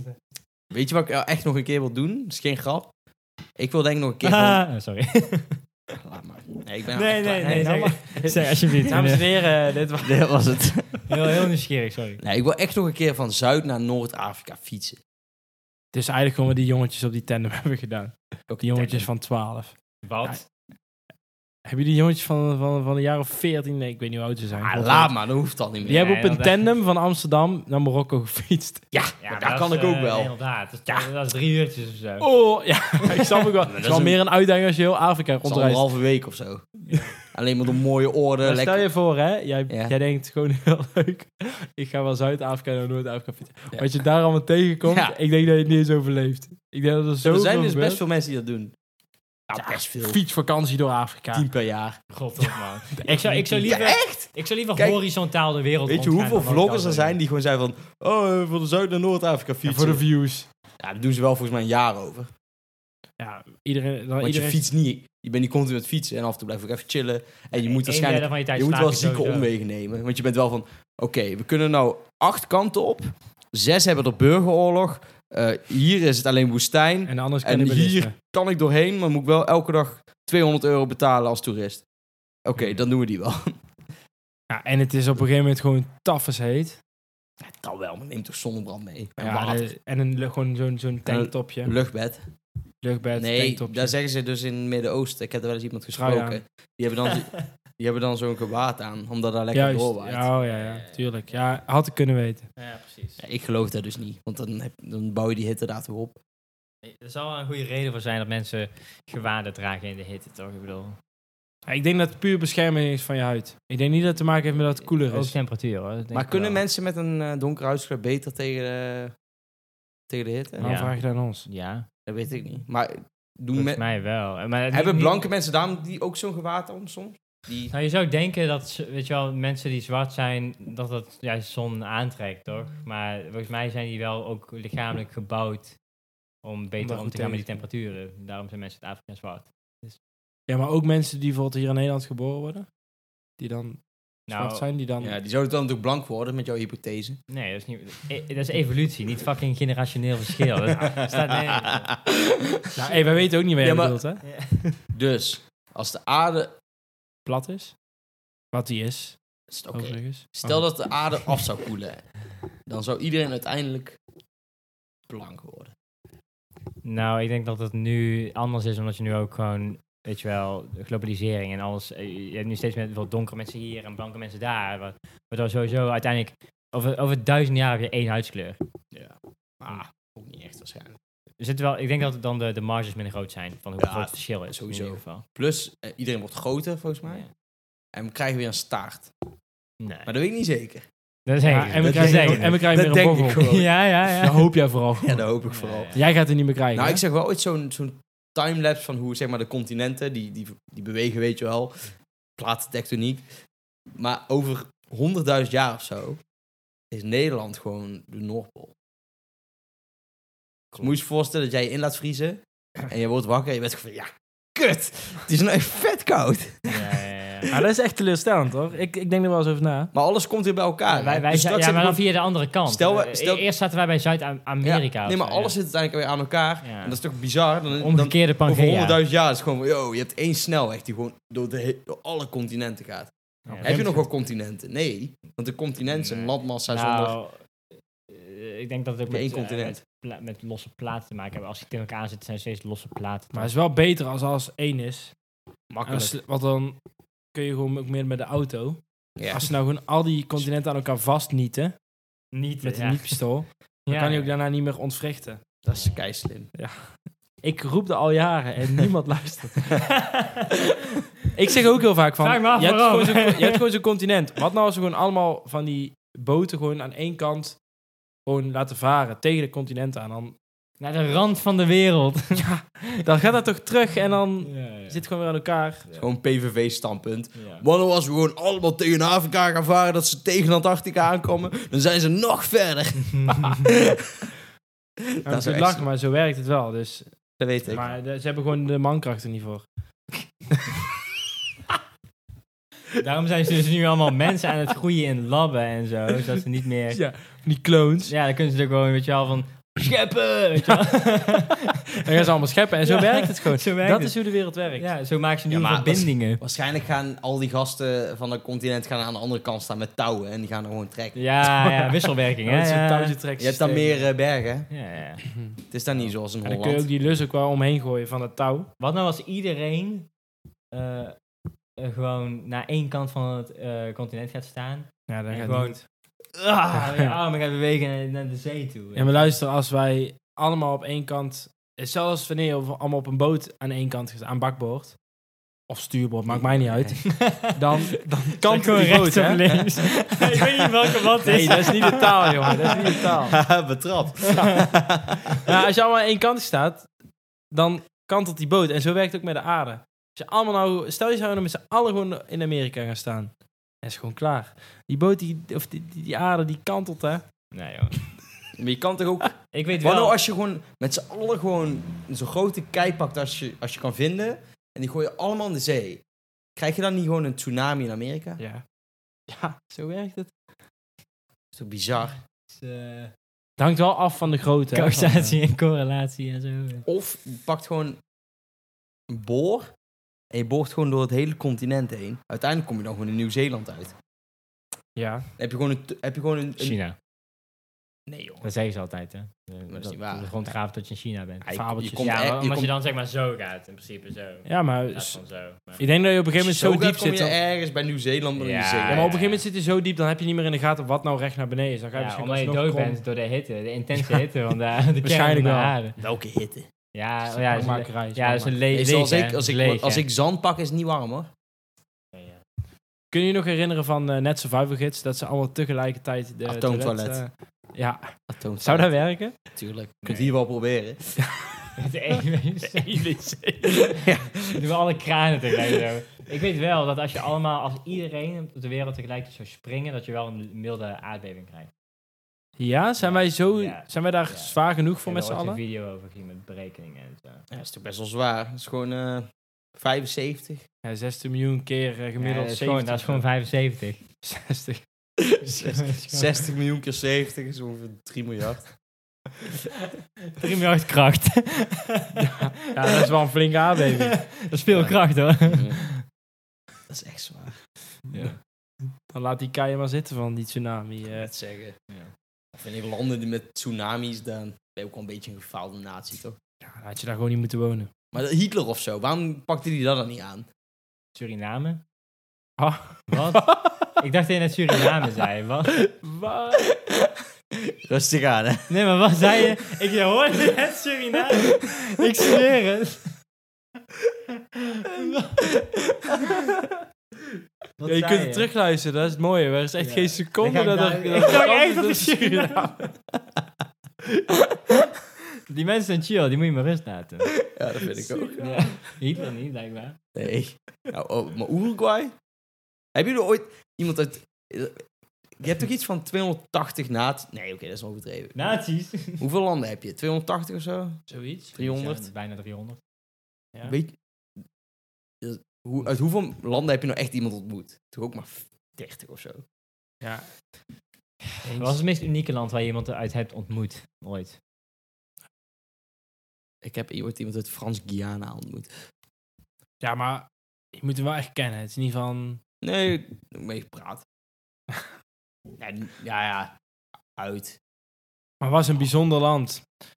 Weet je wat ik nou echt nog een keer wil doen? Dat is geen grap. Ik wil denk ik nog een keer... gewoon- Ah, oh, sorry. Laat maar. Nee, ik ben Nee, echt nee, klaar. nee. nou zeg- Zeg alsjeblieft. Dames en Ik heren, dit was... maar. Dit was het. ben Heel, heel nieuwsgierig, sorry. Nee, ik wil echt nog een keer van Zuid naar Noord-Afrika fietsen. Het is eigenlijk gewoon wat die jongetjes op die tandem hebben gedaan. Ook Die jongetjes van 12. Wat? Heb je die jongetjes van, van, van een jaar of 14? Nee, ik weet niet hoe oud ze zijn. Ah, laat maar, dat hoeft al niet meer. Die hebben op Nee, een dat dacht tandem van Amsterdam naar Marokko gefietst. Ja, maar dat kan is, ik ook eh, wel. Inderdaad. Dat is, dat is drie uurtjes of zo. Oh, ja. ik snap ook wel. Het is is wel een- meer een uitdaging als je heel Afrika Dat is rondreist. anderhalve week of zo. Alleen maar de mooie Maar orde, stel lekker... je voor, hè. Jij, Ja. jij denkt gewoon heel leuk. Ik ga wel Zuid-Afrika naar Noord-Afrika fietsen. Ja. Wat je daar allemaal tegenkomt, Ja. ik denk dat je het niet eens overleeft. Ik denk dat er zo er zijn dus best veel mensen die dat doen. Ja, Ja, best veel. Fietsvakantie door Afrika. Tien per jaar. God, toch, man. Ik zou, ik zou liever, echt? ik zou liever Kijk, horizontaal de wereld Weet je rondgaan hoeveel dan dat ik vloggers dat er wil zijn die gewoon zijn van... Oh, eh, van de Zuid naar Noord-Afrika Ja, fietsen. voor de views. Ja, daar doen ze wel volgens mij een jaar over. Ja, iedereen... Dan Want iedereen... je fietst niet. Je bent niet continu aan het fietsen. En af en toe blijf ik even chillen. En je doen. moet Eén waarschijnlijk... derde van tijd Je moet slaap wel ik zieke sowieso. omwegen nemen. Want je bent wel van... Oké, we kunnen nou acht kanten op. Zes hebben er burgeroorlog. Eh, hier is het alleen woestijn. En anders En hier kan ik doorheen. Maar moet ik wel elke dag 200 euro betalen als toerist. Oké, dan doen we die wel. Ja, en het is op een gegeven moment gewoon taf als heet. Dan Nou, wel, maar neem toch zonnebrand mee. En Ja, water. de- en een, lu- gewoon zo'n zo'n tanktopje. Luchtbed. Luchtbed, Nee, tanktopje. daar zeggen ze dus in het Midden-Oosten. Ik heb er wel eens iemand Oh, gesproken. Trui aan. Die hebben dan, zo- die hebben dan zo'n gewaad aan. Omdat daar lekker Juist. doorwaait. Ja, oh, ja, ja, tuurlijk. Ja, had ik kunnen weten. Ja, precies. Ja, ik geloof dat dus niet, want dan, heb, dan bouw je die hitte daar toch op. Er zal wel een goede reden voor zijn dat mensen gewaden dragen in de hitte, toch? Ik bedoel, Ja, ik denk dat het puur bescherming is van je huid. Ik denk niet dat het te maken heeft met dat het koeler ook is. temperatuur, hoor. dat denk maar ik kunnen wel. mensen met een eh donker huidskleur beter tegen de, tegen de hitte? Waarom Ja. vraag je dat aan ons? Ja, Dat weet ik niet. Maar doen volgens me, mij wel. Eh, Maar het- hebben niet- blanke mensen daarom die ook zo'n gewaad om soms? Die, Nou, je zou denken dat, ze- weet je wel, mensen die zwart zijn, dat dat juist zon aantrekt, toch? Mm. Maar volgens mij zijn die wel ook lichamelijk gebouwd om daar beter om goed te gaan met die tegen temperaturen. Daarom zijn mensen uit Afrika zwart. Ja, maar ook mensen die bijvoorbeeld hier in Nederland geboren worden. Die dan Nou, zwart zijn, die dan... ja, die zouden dan natuurlijk blank worden met jouw hypothese. nee, dat is, niet, eh, dat is evolutie, niet fucking generationeel verschil. Dat staat nee. Nou, hey, wij weten ook niet waar jij Ja, maar- bedoelt, hè? Dus, als de aarde... Plat is. Wat die is, is het oké. overigens. Stel Oh. dat de aarde af zou koelen, dan zou iedereen uiteindelijk blank worden. Nou, ik denk dat het nu anders is, omdat je nu ook gewoon, weet je wel, de globalisering en alles. eh, Je hebt nu steeds meer veel donkere mensen hier en blanke mensen daar. wa- Waardoor sowieso uiteindelijk, over, over duizend jaar heb je één huidskleur. Ja. Maar ook niet echt waarschijnlijk. Er zit wel, ik denk dat dan de, de marges minder groot zijn van hoe Ja, groot het verschil is. sowieso. In ieder geval. Plus, eh, iedereen wordt groter volgens mij. Ja. En we krijgen weer een staart. Nee. Maar dat weet ik niet zeker. Dat is één. Ja, en, we dat krijgen, denk weer- ik. en we krijgen Dat weer een denk ik bochel. gewoon. Ja, ja, Dat ja. hoop jij vooral. Ja, dat hoop ik vooral. Ja, ja. Jij gaat het niet meer krijgen. Nou, hè? ik zeg wel ooit zo'n zo'n timelapse van hoe zeg maar, de continenten, die, die, die bewegen, weet je wel, plaattektoniek. Maar over 100.000 jaar of zo is Nederland gewoon de Noordpool. Moet je je voorstellen dat jij je in laat vriezen en je wordt wakker en je bent gewoon van, ja, kut, het is nou echt vet koud. Ja, ja, ja. Nou, dat is echt teleurstellend, hoor. Ik, ik denk er wel eens over na. Maar alles komt weer bij elkaar. Wij, wij Dus zijn- straks ja, heb maar je dan via de andere kant. Stel we- Eh, stel- Eerst zaten wij bij gewoon- Zuid-Amerika. Ja, of nee, maar zo, alles ja. zit uiteindelijk weer aan elkaar. Ja. En dat is toch bizar? Dan, dan, Omgekeerde Pangea. Over 100.000 jaar is het gewoon van, yo, je hebt één snelweg die gewoon door, de he- door alle continenten gaat. Ja. Heb je nog wel continenten? Nee, want een continent is een Nee. landmassa zonder... Nou, eh, eh, ik denk dat het ook Op één Nou, met, eh, continent. met, pla- met losse platen te maken hebben. Als die tegen elkaar zitten, zijn het steeds losse platen. Maar het is wel beter als alles één is. Makkelijk. Als- want dan kun je gewoon ook meer met de auto. Ja. Als ze nou gewoon al die continenten aan elkaar vastnieten niet met een ja. nietpistool, dan Ja. kan je ook daarna niet meer ontwrichten. Dat is kei slim. Ik roep dat al jaren en niemand luistert. Ik zeg ook heel vaak van, Vraag me af je, hebt waarom. gewoon zo'n- je hebt gewoon zo'n continent. Wat nou als we gewoon allemaal van die boten gewoon aan één kant gewoon laten varen tegen de continent aan? Dan, Naar de rand van de wereld. dan gaat dat toch terug en dan Ja, ja. zit het gewoon weer aan elkaar. Gewoon PVV-standpunt. Ja. Wanneer als we gewoon allemaal tegen Afrika gaan varen, dat ze tegen Antarctica aankomen, dan zijn ze nog verder. Ja, dat zou echt lachen, zo- maar zo werkt het wel. Dus, Dat weet ik. maar de- ze hebben gewoon de mankracht er niet voor. Daarom zijn ze dus nu allemaal mensen aan het groeien in labben en zo. Zodat ze niet meer... Ja, die clones. Ja, dan kunnen ze er gewoon, weet je wel, van... Scheppen! Weet je wel. Dan gaan ze allemaal scheppen en zo Ja, werkt het gewoon. zo werkt dat het. is hoe de wereld werkt. Ja, zo maken ze Ja, nieuwe maar dat is- verbindingen. Waarschijnlijk gaan al die gasten van dat continent gaan aan de andere kant staan met touwen en die gaan er gewoon trekken. Ja, ja, wisselwerking, hè? Dat is een Ja, touwtje trek Je hebt dan systeem. meer eh, bergen. ja, ja. Het is dan niet zoals in En dan kun je ook Holland. die lus ook wel omheen gooien van het touw. Wat nou als iedereen eh, eh, gewoon naar één kant van het eh, continent gaat staan? Ja, dan en gaat gewoon... niet. Ah, je armen gaat bewegen naar, naar de zee toe. Ja, maar luister, als wij allemaal op één kant... Zelfs wanneer we allemaal op een boot aan één kant gaan, aan bakboord... Of stuurboord, maakt mij niet uit. Dan, dan kan gewoon die boot, rechts of hè? links. ik weet niet welke wat is. Nee, dat is niet de taal, jongen. Dat is niet de taal. Betrapt. Nou, als je allemaal aan één kant staat, dan kantelt die boot. En zo werkt het ook met de aarde. Als je allemaal nou, stel je zou nou met z'n allen gewoon in Amerika gaan staan. Dat is gewoon klaar. Die boot, die, of die, die, die aarde, die kantelt, hè? Nee, joh. Maar je kan toch ook Ik weet Wat nou wel... als je gewoon met z'n allen gewoon zo'n grote kei pakt als je, als je kan vinden. En die gooi je allemaal in de zee. Krijg je dan niet gewoon een tsunami in Amerika? Dat Ja. Ja, zo werkt het. is toch bizar? eh, Het hangt wel af van eh, de grootte. hè, Causatie en correlatie en zo. Of je pakt gewoon een boor. En je boort gewoon door het hele continent heen. Uiteindelijk kom je dan gewoon in Nieuw-Zeeland uit. van- ja. Dan heb je gewoon een... t- Heb je gewoon een, een- China. nee joh. Dat zeggen ze altijd, hè? Dat, is niet waar. De grondgraaf dat je in China bent. Ja, je- je, Fabeltjes. komt, e- ja, maar je als je komt, dan zeg maar zo gaat, in principe zo. Ja, maar Ja, s- van zo. maar- ik denk dat je op een gegeven moment als je zo gaat, diep kom zit. je e- Dan, ja, ergens bij Nieuw-zeeland dan in de Ja, zee. maar op een gegeven moment zit je zo diep, dan heb je niet meer in de gaten wat nou recht naar beneden is. Dan ga je Ja, misschien omdat je alsnog dood krom. bent door de hitte, de intense hitte van de, de kern van Waarschijnlijk de wel. aarde. Welke hitte? Ja, oh Ja, ja, dat is een- Schoonmakerij, ja, dat is een schoonmaker. le Meestal leeg, als, hè. ik, als, ik, Leeg, als hè. ik zand pak is het niet warm hoor. Ja, ja. Kun je je nog herinneren van eh, Net Survival Gids, dat ze allemaal tegelijkertijd de Atoomtoilet. toilet, eh, ja, Atoom- zou dat werken? Tuurlijk. Je Nee. kunt hier wel proberen. De ene Doen we alle kranen tegelijk zo. Ik weet wel dat als je allemaal, als iedereen op de wereld tegelijk zou springen, dat je wel een milde aardbeving krijgt. Ja, zijn wij, zo, Ja. zijn wij daar Ja. zwaar genoeg voor Ik met heb z'n er ooit allen? een video over gezien met berekeningen en zo. Ja, dat is toch best wel zwaar. Dat is gewoon eh 75. Ja, 16 miljoen keer eh, Ja, dat, gemiddeld is 70. gewoon, dat is gewoon 75. 60. 60 miljoen keer 70 is ongeveer 3 miljard. 3 miljard kracht. Ja, dat is wel een flinke aardbeving. Dat is veel kracht hoor. Dat is echt zwaar. Dan laat die kaaien maar zitten van die tsunami. eh. Net zeggen. Ja. Of in die landen die met tsunamis, dan ben je ook wel een beetje een gefaalde natie, toch? Ja, dan had je daar gewoon niet moeten wonen. Maar dat- Hitler of zo, waarom pakte hij dat dan niet aan? Suriname? Ah. Wat? ik dacht dat je net Suriname zei. Wat? Wat? Rustig aan, hè? Nee, maar wat zei je? Ik hoorde net Suriname. Ik zweer het. Wat Ja, je zei kunt het terugluisteren, dat is het mooie. Er is echt Ja. geen seconde Dan ga dat ik er... daar- dat Ik er dacht kans echt is dat dat het Suriname- Die mensen zijn chill, die moet je maar rust laten. Ja, dat vind ik ook. Ja. Hitler niet, blijkbaar. Nee. Nou, oh, maar Uruguay? Hebben jullie ooit iemand uit... Je hebt toch iets van 280 naties? Nee, oké, dat is overdreven. Nazi's. Hoeveel landen heb je? 280 of zo? Zoiets. 300? Ja, bijna 300. Ja. Weet je- hoe, uit hoeveel landen heb je nou echt iemand ontmoet? Toch ook maar f- 30 of zo. Ja. Wat is het meest unieke land waar je iemand uit hebt ontmoet? Ooit. Ik heb ooit iemand uit Frans-Guyana ontmoet. ja, maar je moet hem wel echt kennen. Het is niet van... Nee, ik heb mee gepraat. Nee, ja, ja, uit. Maar was een bijzonder land.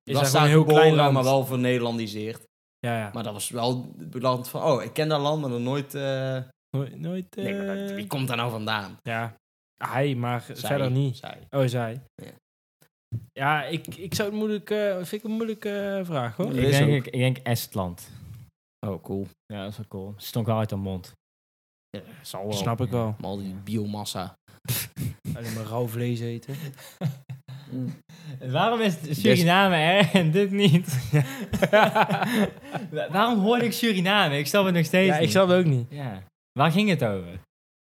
Is was was daar een heel geboren, klein land. maar wel vernederlandiseerd. Ja, ja. Maar dat was wel het land van, oh, ik ken dat land, maar nog nooit... eh, Nooit, nooit nee, maar dat- eh, wie komt daar nou vandaan? Ja, hij, maar Zij, verder niet. zij. Oh, zij. Ja. Ja, ik, ik zou het moeilijk... eh, vind ik een moeilijke eh, vraag, hoor. Ja. Ik is denk, ook. ik, ik denk Estland. Oh, cool. Ja, dat is wel cool. Stonk wel uit haar mond. Ja, zal wel. Snap ik wel. Maar al die biomassa. Alleen maar rauw vlees eten. Mm. Eh, Waarom is Suriname er en dit niet? Wa- Waarom hoorde ik Suriname? Ik snap het nog steeds ja, ik niet. snap het ook niet. Ja. Waar ging het over?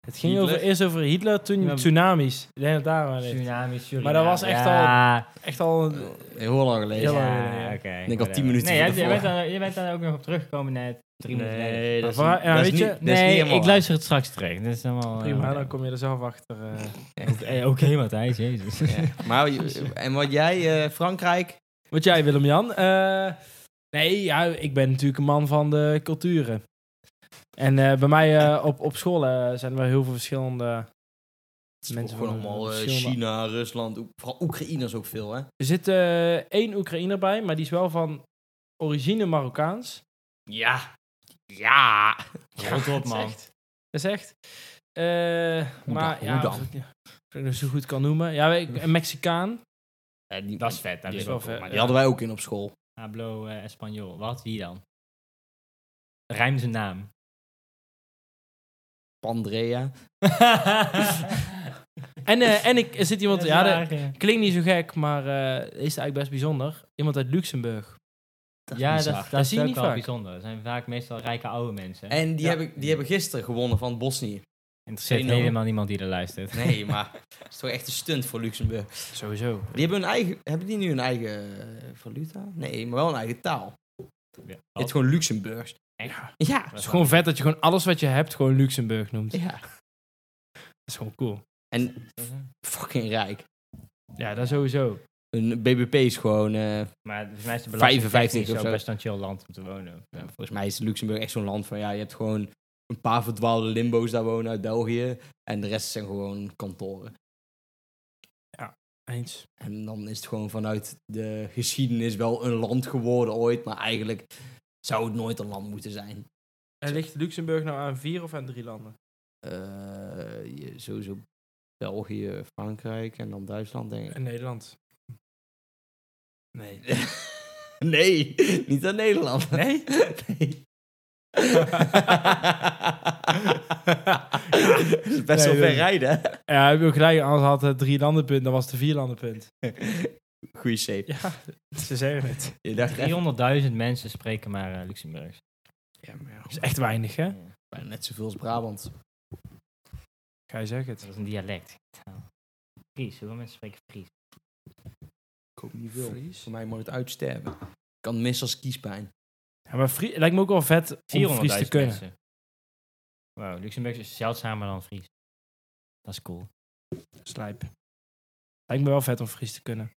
Het ging Hitler? over, eerst over Hitler, toen Ja. tsunamis. Ik denk dat daar wel ligt. Suriname, Suriname. Maar dat was echt al- Ja. Echt al... een- Heel lang Heel geleden. lang. Ja, ja. oké. Ik denk al whatever. 10 minuten Nee, jij- ervoor. jij bent daar- je bent daar ook nog op teruggekomen net. Drie minuten geleden. Nee, dat is Maar niet- waar- ja, dat is weet je, niet- dat is niet Nee, helemaal ik waar. luister het straks terug. Dat is allemaal... eh, Prima, dan kom je er zelf achter. eh. Oké, oké, Matthijs, jezus. Maar, je- en wat jij, eh, Frankrijk? Wat jij, Willem-Jan? Eh, nee, ja, ik ben natuurlijk een man van de culturen. En eh, bij mij eh, op, op school eh, zijn er heel veel verschillende... Mensen Mensen gewoon van, eh, allemaal eh, verschillende- China, Rusland, Oek- vooral Oekraïners ook veel, hè? Er zit eh, één Oekraïner bij, maar die is wel van origine Marokkaans. Ja. Ja. Rot op, dat is man. echt- Dat is echt. Eh, Hoe maar dan? ja, Hoe dan? of ik- ja, of ik dat zo goed kan noemen. Ja, ik- een Mexicaan. die, Dat is vet. Dat Die is is wel wel vet. vet, die hadden wij ook in op school. Hablo eh, Espanol. Wat? Wie dan? Rijm zijn naam. Pandrea. En, eh, en ik, er zit iemand... Ja, dat dat, klinkt niet zo gek, maar eh, is eigenlijk best bijzonder. Iemand uit Luxemburg. ja, dat, bizar. dat, Dat is zie je ook niet wel vaak. bijzonder. Dat zijn vaak meestal rijke oude mensen. En die, Ja. hebben, die hebben gisteren gewonnen van Bosnië. Interesseert Zeno. helemaal niemand die er luistert. Nee, maar dat is toch echt een stunt voor Luxemburg. Sowieso. Die hebben, hun eigen, hebben die nu een eigen eh, valuta? Nee, maar wel een eigen taal. Ja. Het is gewoon Luxemburgs. Ja. Ja. Het is gewoon vet dat je gewoon alles wat je hebt gewoon Luxemburg noemt. Dat Ja. is gewoon cool. En fucking rijk. Ja, dat sowieso. Een BBP is gewoon... eh, Maar volgens mij is de 55 belasting of zo zo. best een chill land om te wonen. Ja, volgens mij is Luxemburg echt zo'n land van ja, je hebt gewoon een paar verdwaalde limbo's daar wonen uit België. En de rest zijn gewoon kantoren. Eens. En dan is het gewoon vanuit de geschiedenis wel een land geworden ooit. Maar eigenlijk zou het nooit een land moeten zijn. En ligt Luxemburg nou aan vier of aan drie landen? Eh, je- sowieso België, Frankrijk en dan Duitsland, denk ik. En Nederland. Nee. nee, niet aan Nederland. Nee? Nee. Dat is best wel Nee, ver dat- rijden. hè? Ja, heb je ook gelijk. Anders had het drie landenpunt, dan was het een vier landenpunt. Goeie shape. Ja, ze zeggen het. Je dacht echt 300.000 mensen spreken maar eh, Luxemburgs. Ja, Dat is echt weinig, hè? Bijna net zoveel als Brabant. Ga je zeggen Dat het. is een dialect. Fries, hoeveel mensen spreken Fries? Ik hoop niet veel. Voor mij moet het uitsterven. Ik kan mis als kiespijn. Ja, maar Frie- lijkt me ook wel vet om 400.000 Fries te kunnen. mensen. Wow, Luxemburgs is zeldzamer dan Fries. Dat is cool. Slijp. Lijkt me wel vet om Fries te kunnen.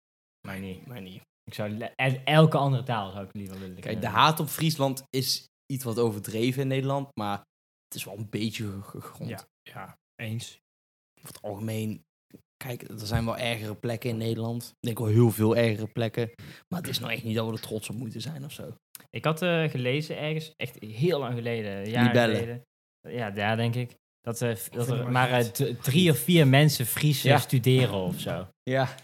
Maar niet. Maar niet. Ik zou le- el- elke andere taal zou ik liever willen Kijk, kunnen. de haat op Friesland is iets wat overdreven in Nederland, maar het is wel een beetje ge- gegrond. Ja. Ja, eens. Over het algemeen, kijk, er zijn wel ergere plekken in Nederland. Ik denk wel heel veel ergere plekken. Maar het is nou echt niet dat we er trots op moeten zijn of zo. Ik had eh, gelezen ergens, echt heel lang geleden, jaren Libellen. geleden. Ja, daar denk ik. Dat, eh, f- vind dat er het maar maar eh, goed. d- drie of vier mensen Fries eh, Ja. studeren of zo. Ja.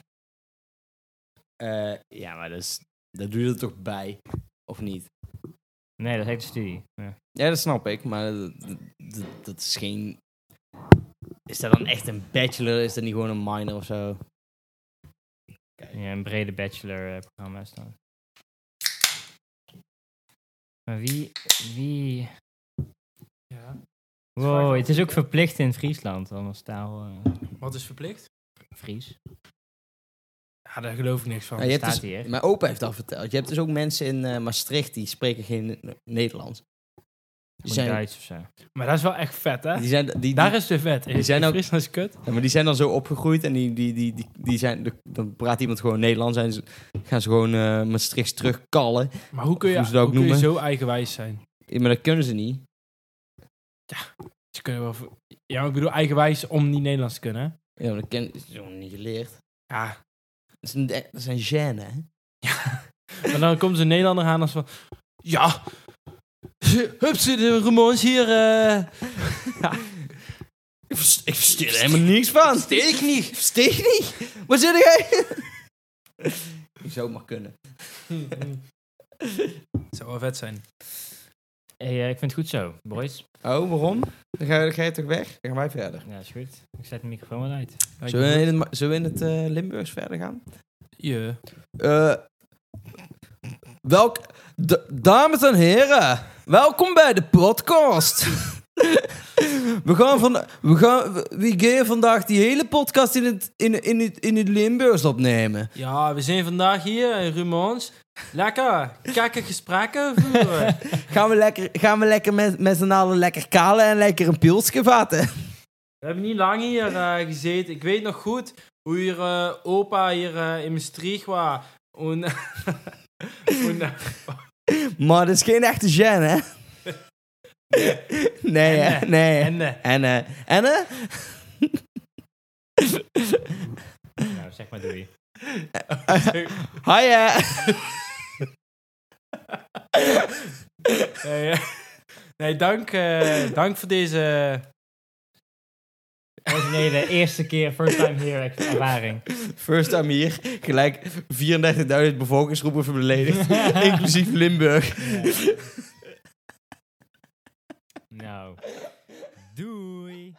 Eh, ja, maar dat, is, dat doe je er toch bij? Of niet? Nee, dat heet de studie. Ja. Ja, dat snap ik, maar dat, dat- dat is geen. Is dat dan echt een bachelor? Is dat niet gewoon een minor of zo? Ja, een brede bachelor-programma is dat. Maar wie, wie... Ja. Wow, het is ook verplicht in Friesland, anders taal eh, Wat is verplicht? Fries. Ja, daar geloof ik niks van. Ja, je hebt staat dus- hier. Mijn opa heeft dat verteld. Je hebt dus ook mensen in eh, Maastricht die spreken geen Ne- Nederlands. Die Gewoon zijn, Duits of zo. Maar dat is wel echt vet, hè? die zijn, die, die- Daar is de vet. Die zijn ook- Fries is kut. ja, maar die zijn dan zo opgegroeid en die, die, die, die, die zijn, de- dan praat iemand gewoon Nederlands en ze, gaan ze gewoon eh Maastrichts terugkallen. Maar hoe kun je, Hoe ze dat ook hoe kun je noemen. zo eigenwijs zijn? Ja, Maar dat kunnen ze niet. Ze kunnen wel... ver- Ja, maar ik bedoel eigenwijs om niet Nederlands te kunnen. hè? Ja, maar dat ken- is gewoon niet geleerd. Ja, is een, dat is een gêne, hè? En dan komt zo'n Nederlander aan als van... Ja, hupsie de Ramons hier. eh." Ik vers- Ik versteer er helemaal niks van. Versteer ik niet. Versteer ik niet. Wat zit jij? Zou maar kunnen. Zou wel vet zijn. Hey, eh, ik vind het goed zo, boys. Oh, waarom? Dan ga, je- dan ga je toch weg? Dan gaan wij verder. Ja, is goed. Ik zet de microfoon maar uit. Zullen we in het, ma- zullen we in het eh, Limburgs verder gaan? Ja. Eh, welk, d- dames en heren, welkom bij de podcast. we, gaan van, we, gaan, we- we gaan vandaag die hele podcast in het, in, in het, in het Limburgs opnemen. ja, we zijn vandaag hier in Rumons. Lekker, kakken gesprekken voeren. Gaan we lekker, gaan we lekker met, met z'n allen lekker kalen en lekker een pilsje vatten? We hebben niet lang hier eh, gezeten. Ik weet nog goed hoe hier eh, opa hier eh, in Maastricht was. En, en, eh, Maar dat is geen echte gen, hè? Nee, hè? En, nee. en, eh, En, eh, en, eh? Nou, zeg maar doei. Hi, eh. Nee, eh, nee, dank, eh, dank voor deze... Dames en heren, eerste keer, first time here ervaring. First time hier, gelijk 34.000 bevolkingsgroepen verbeledigd, inclusief Limburg. Nou, doei.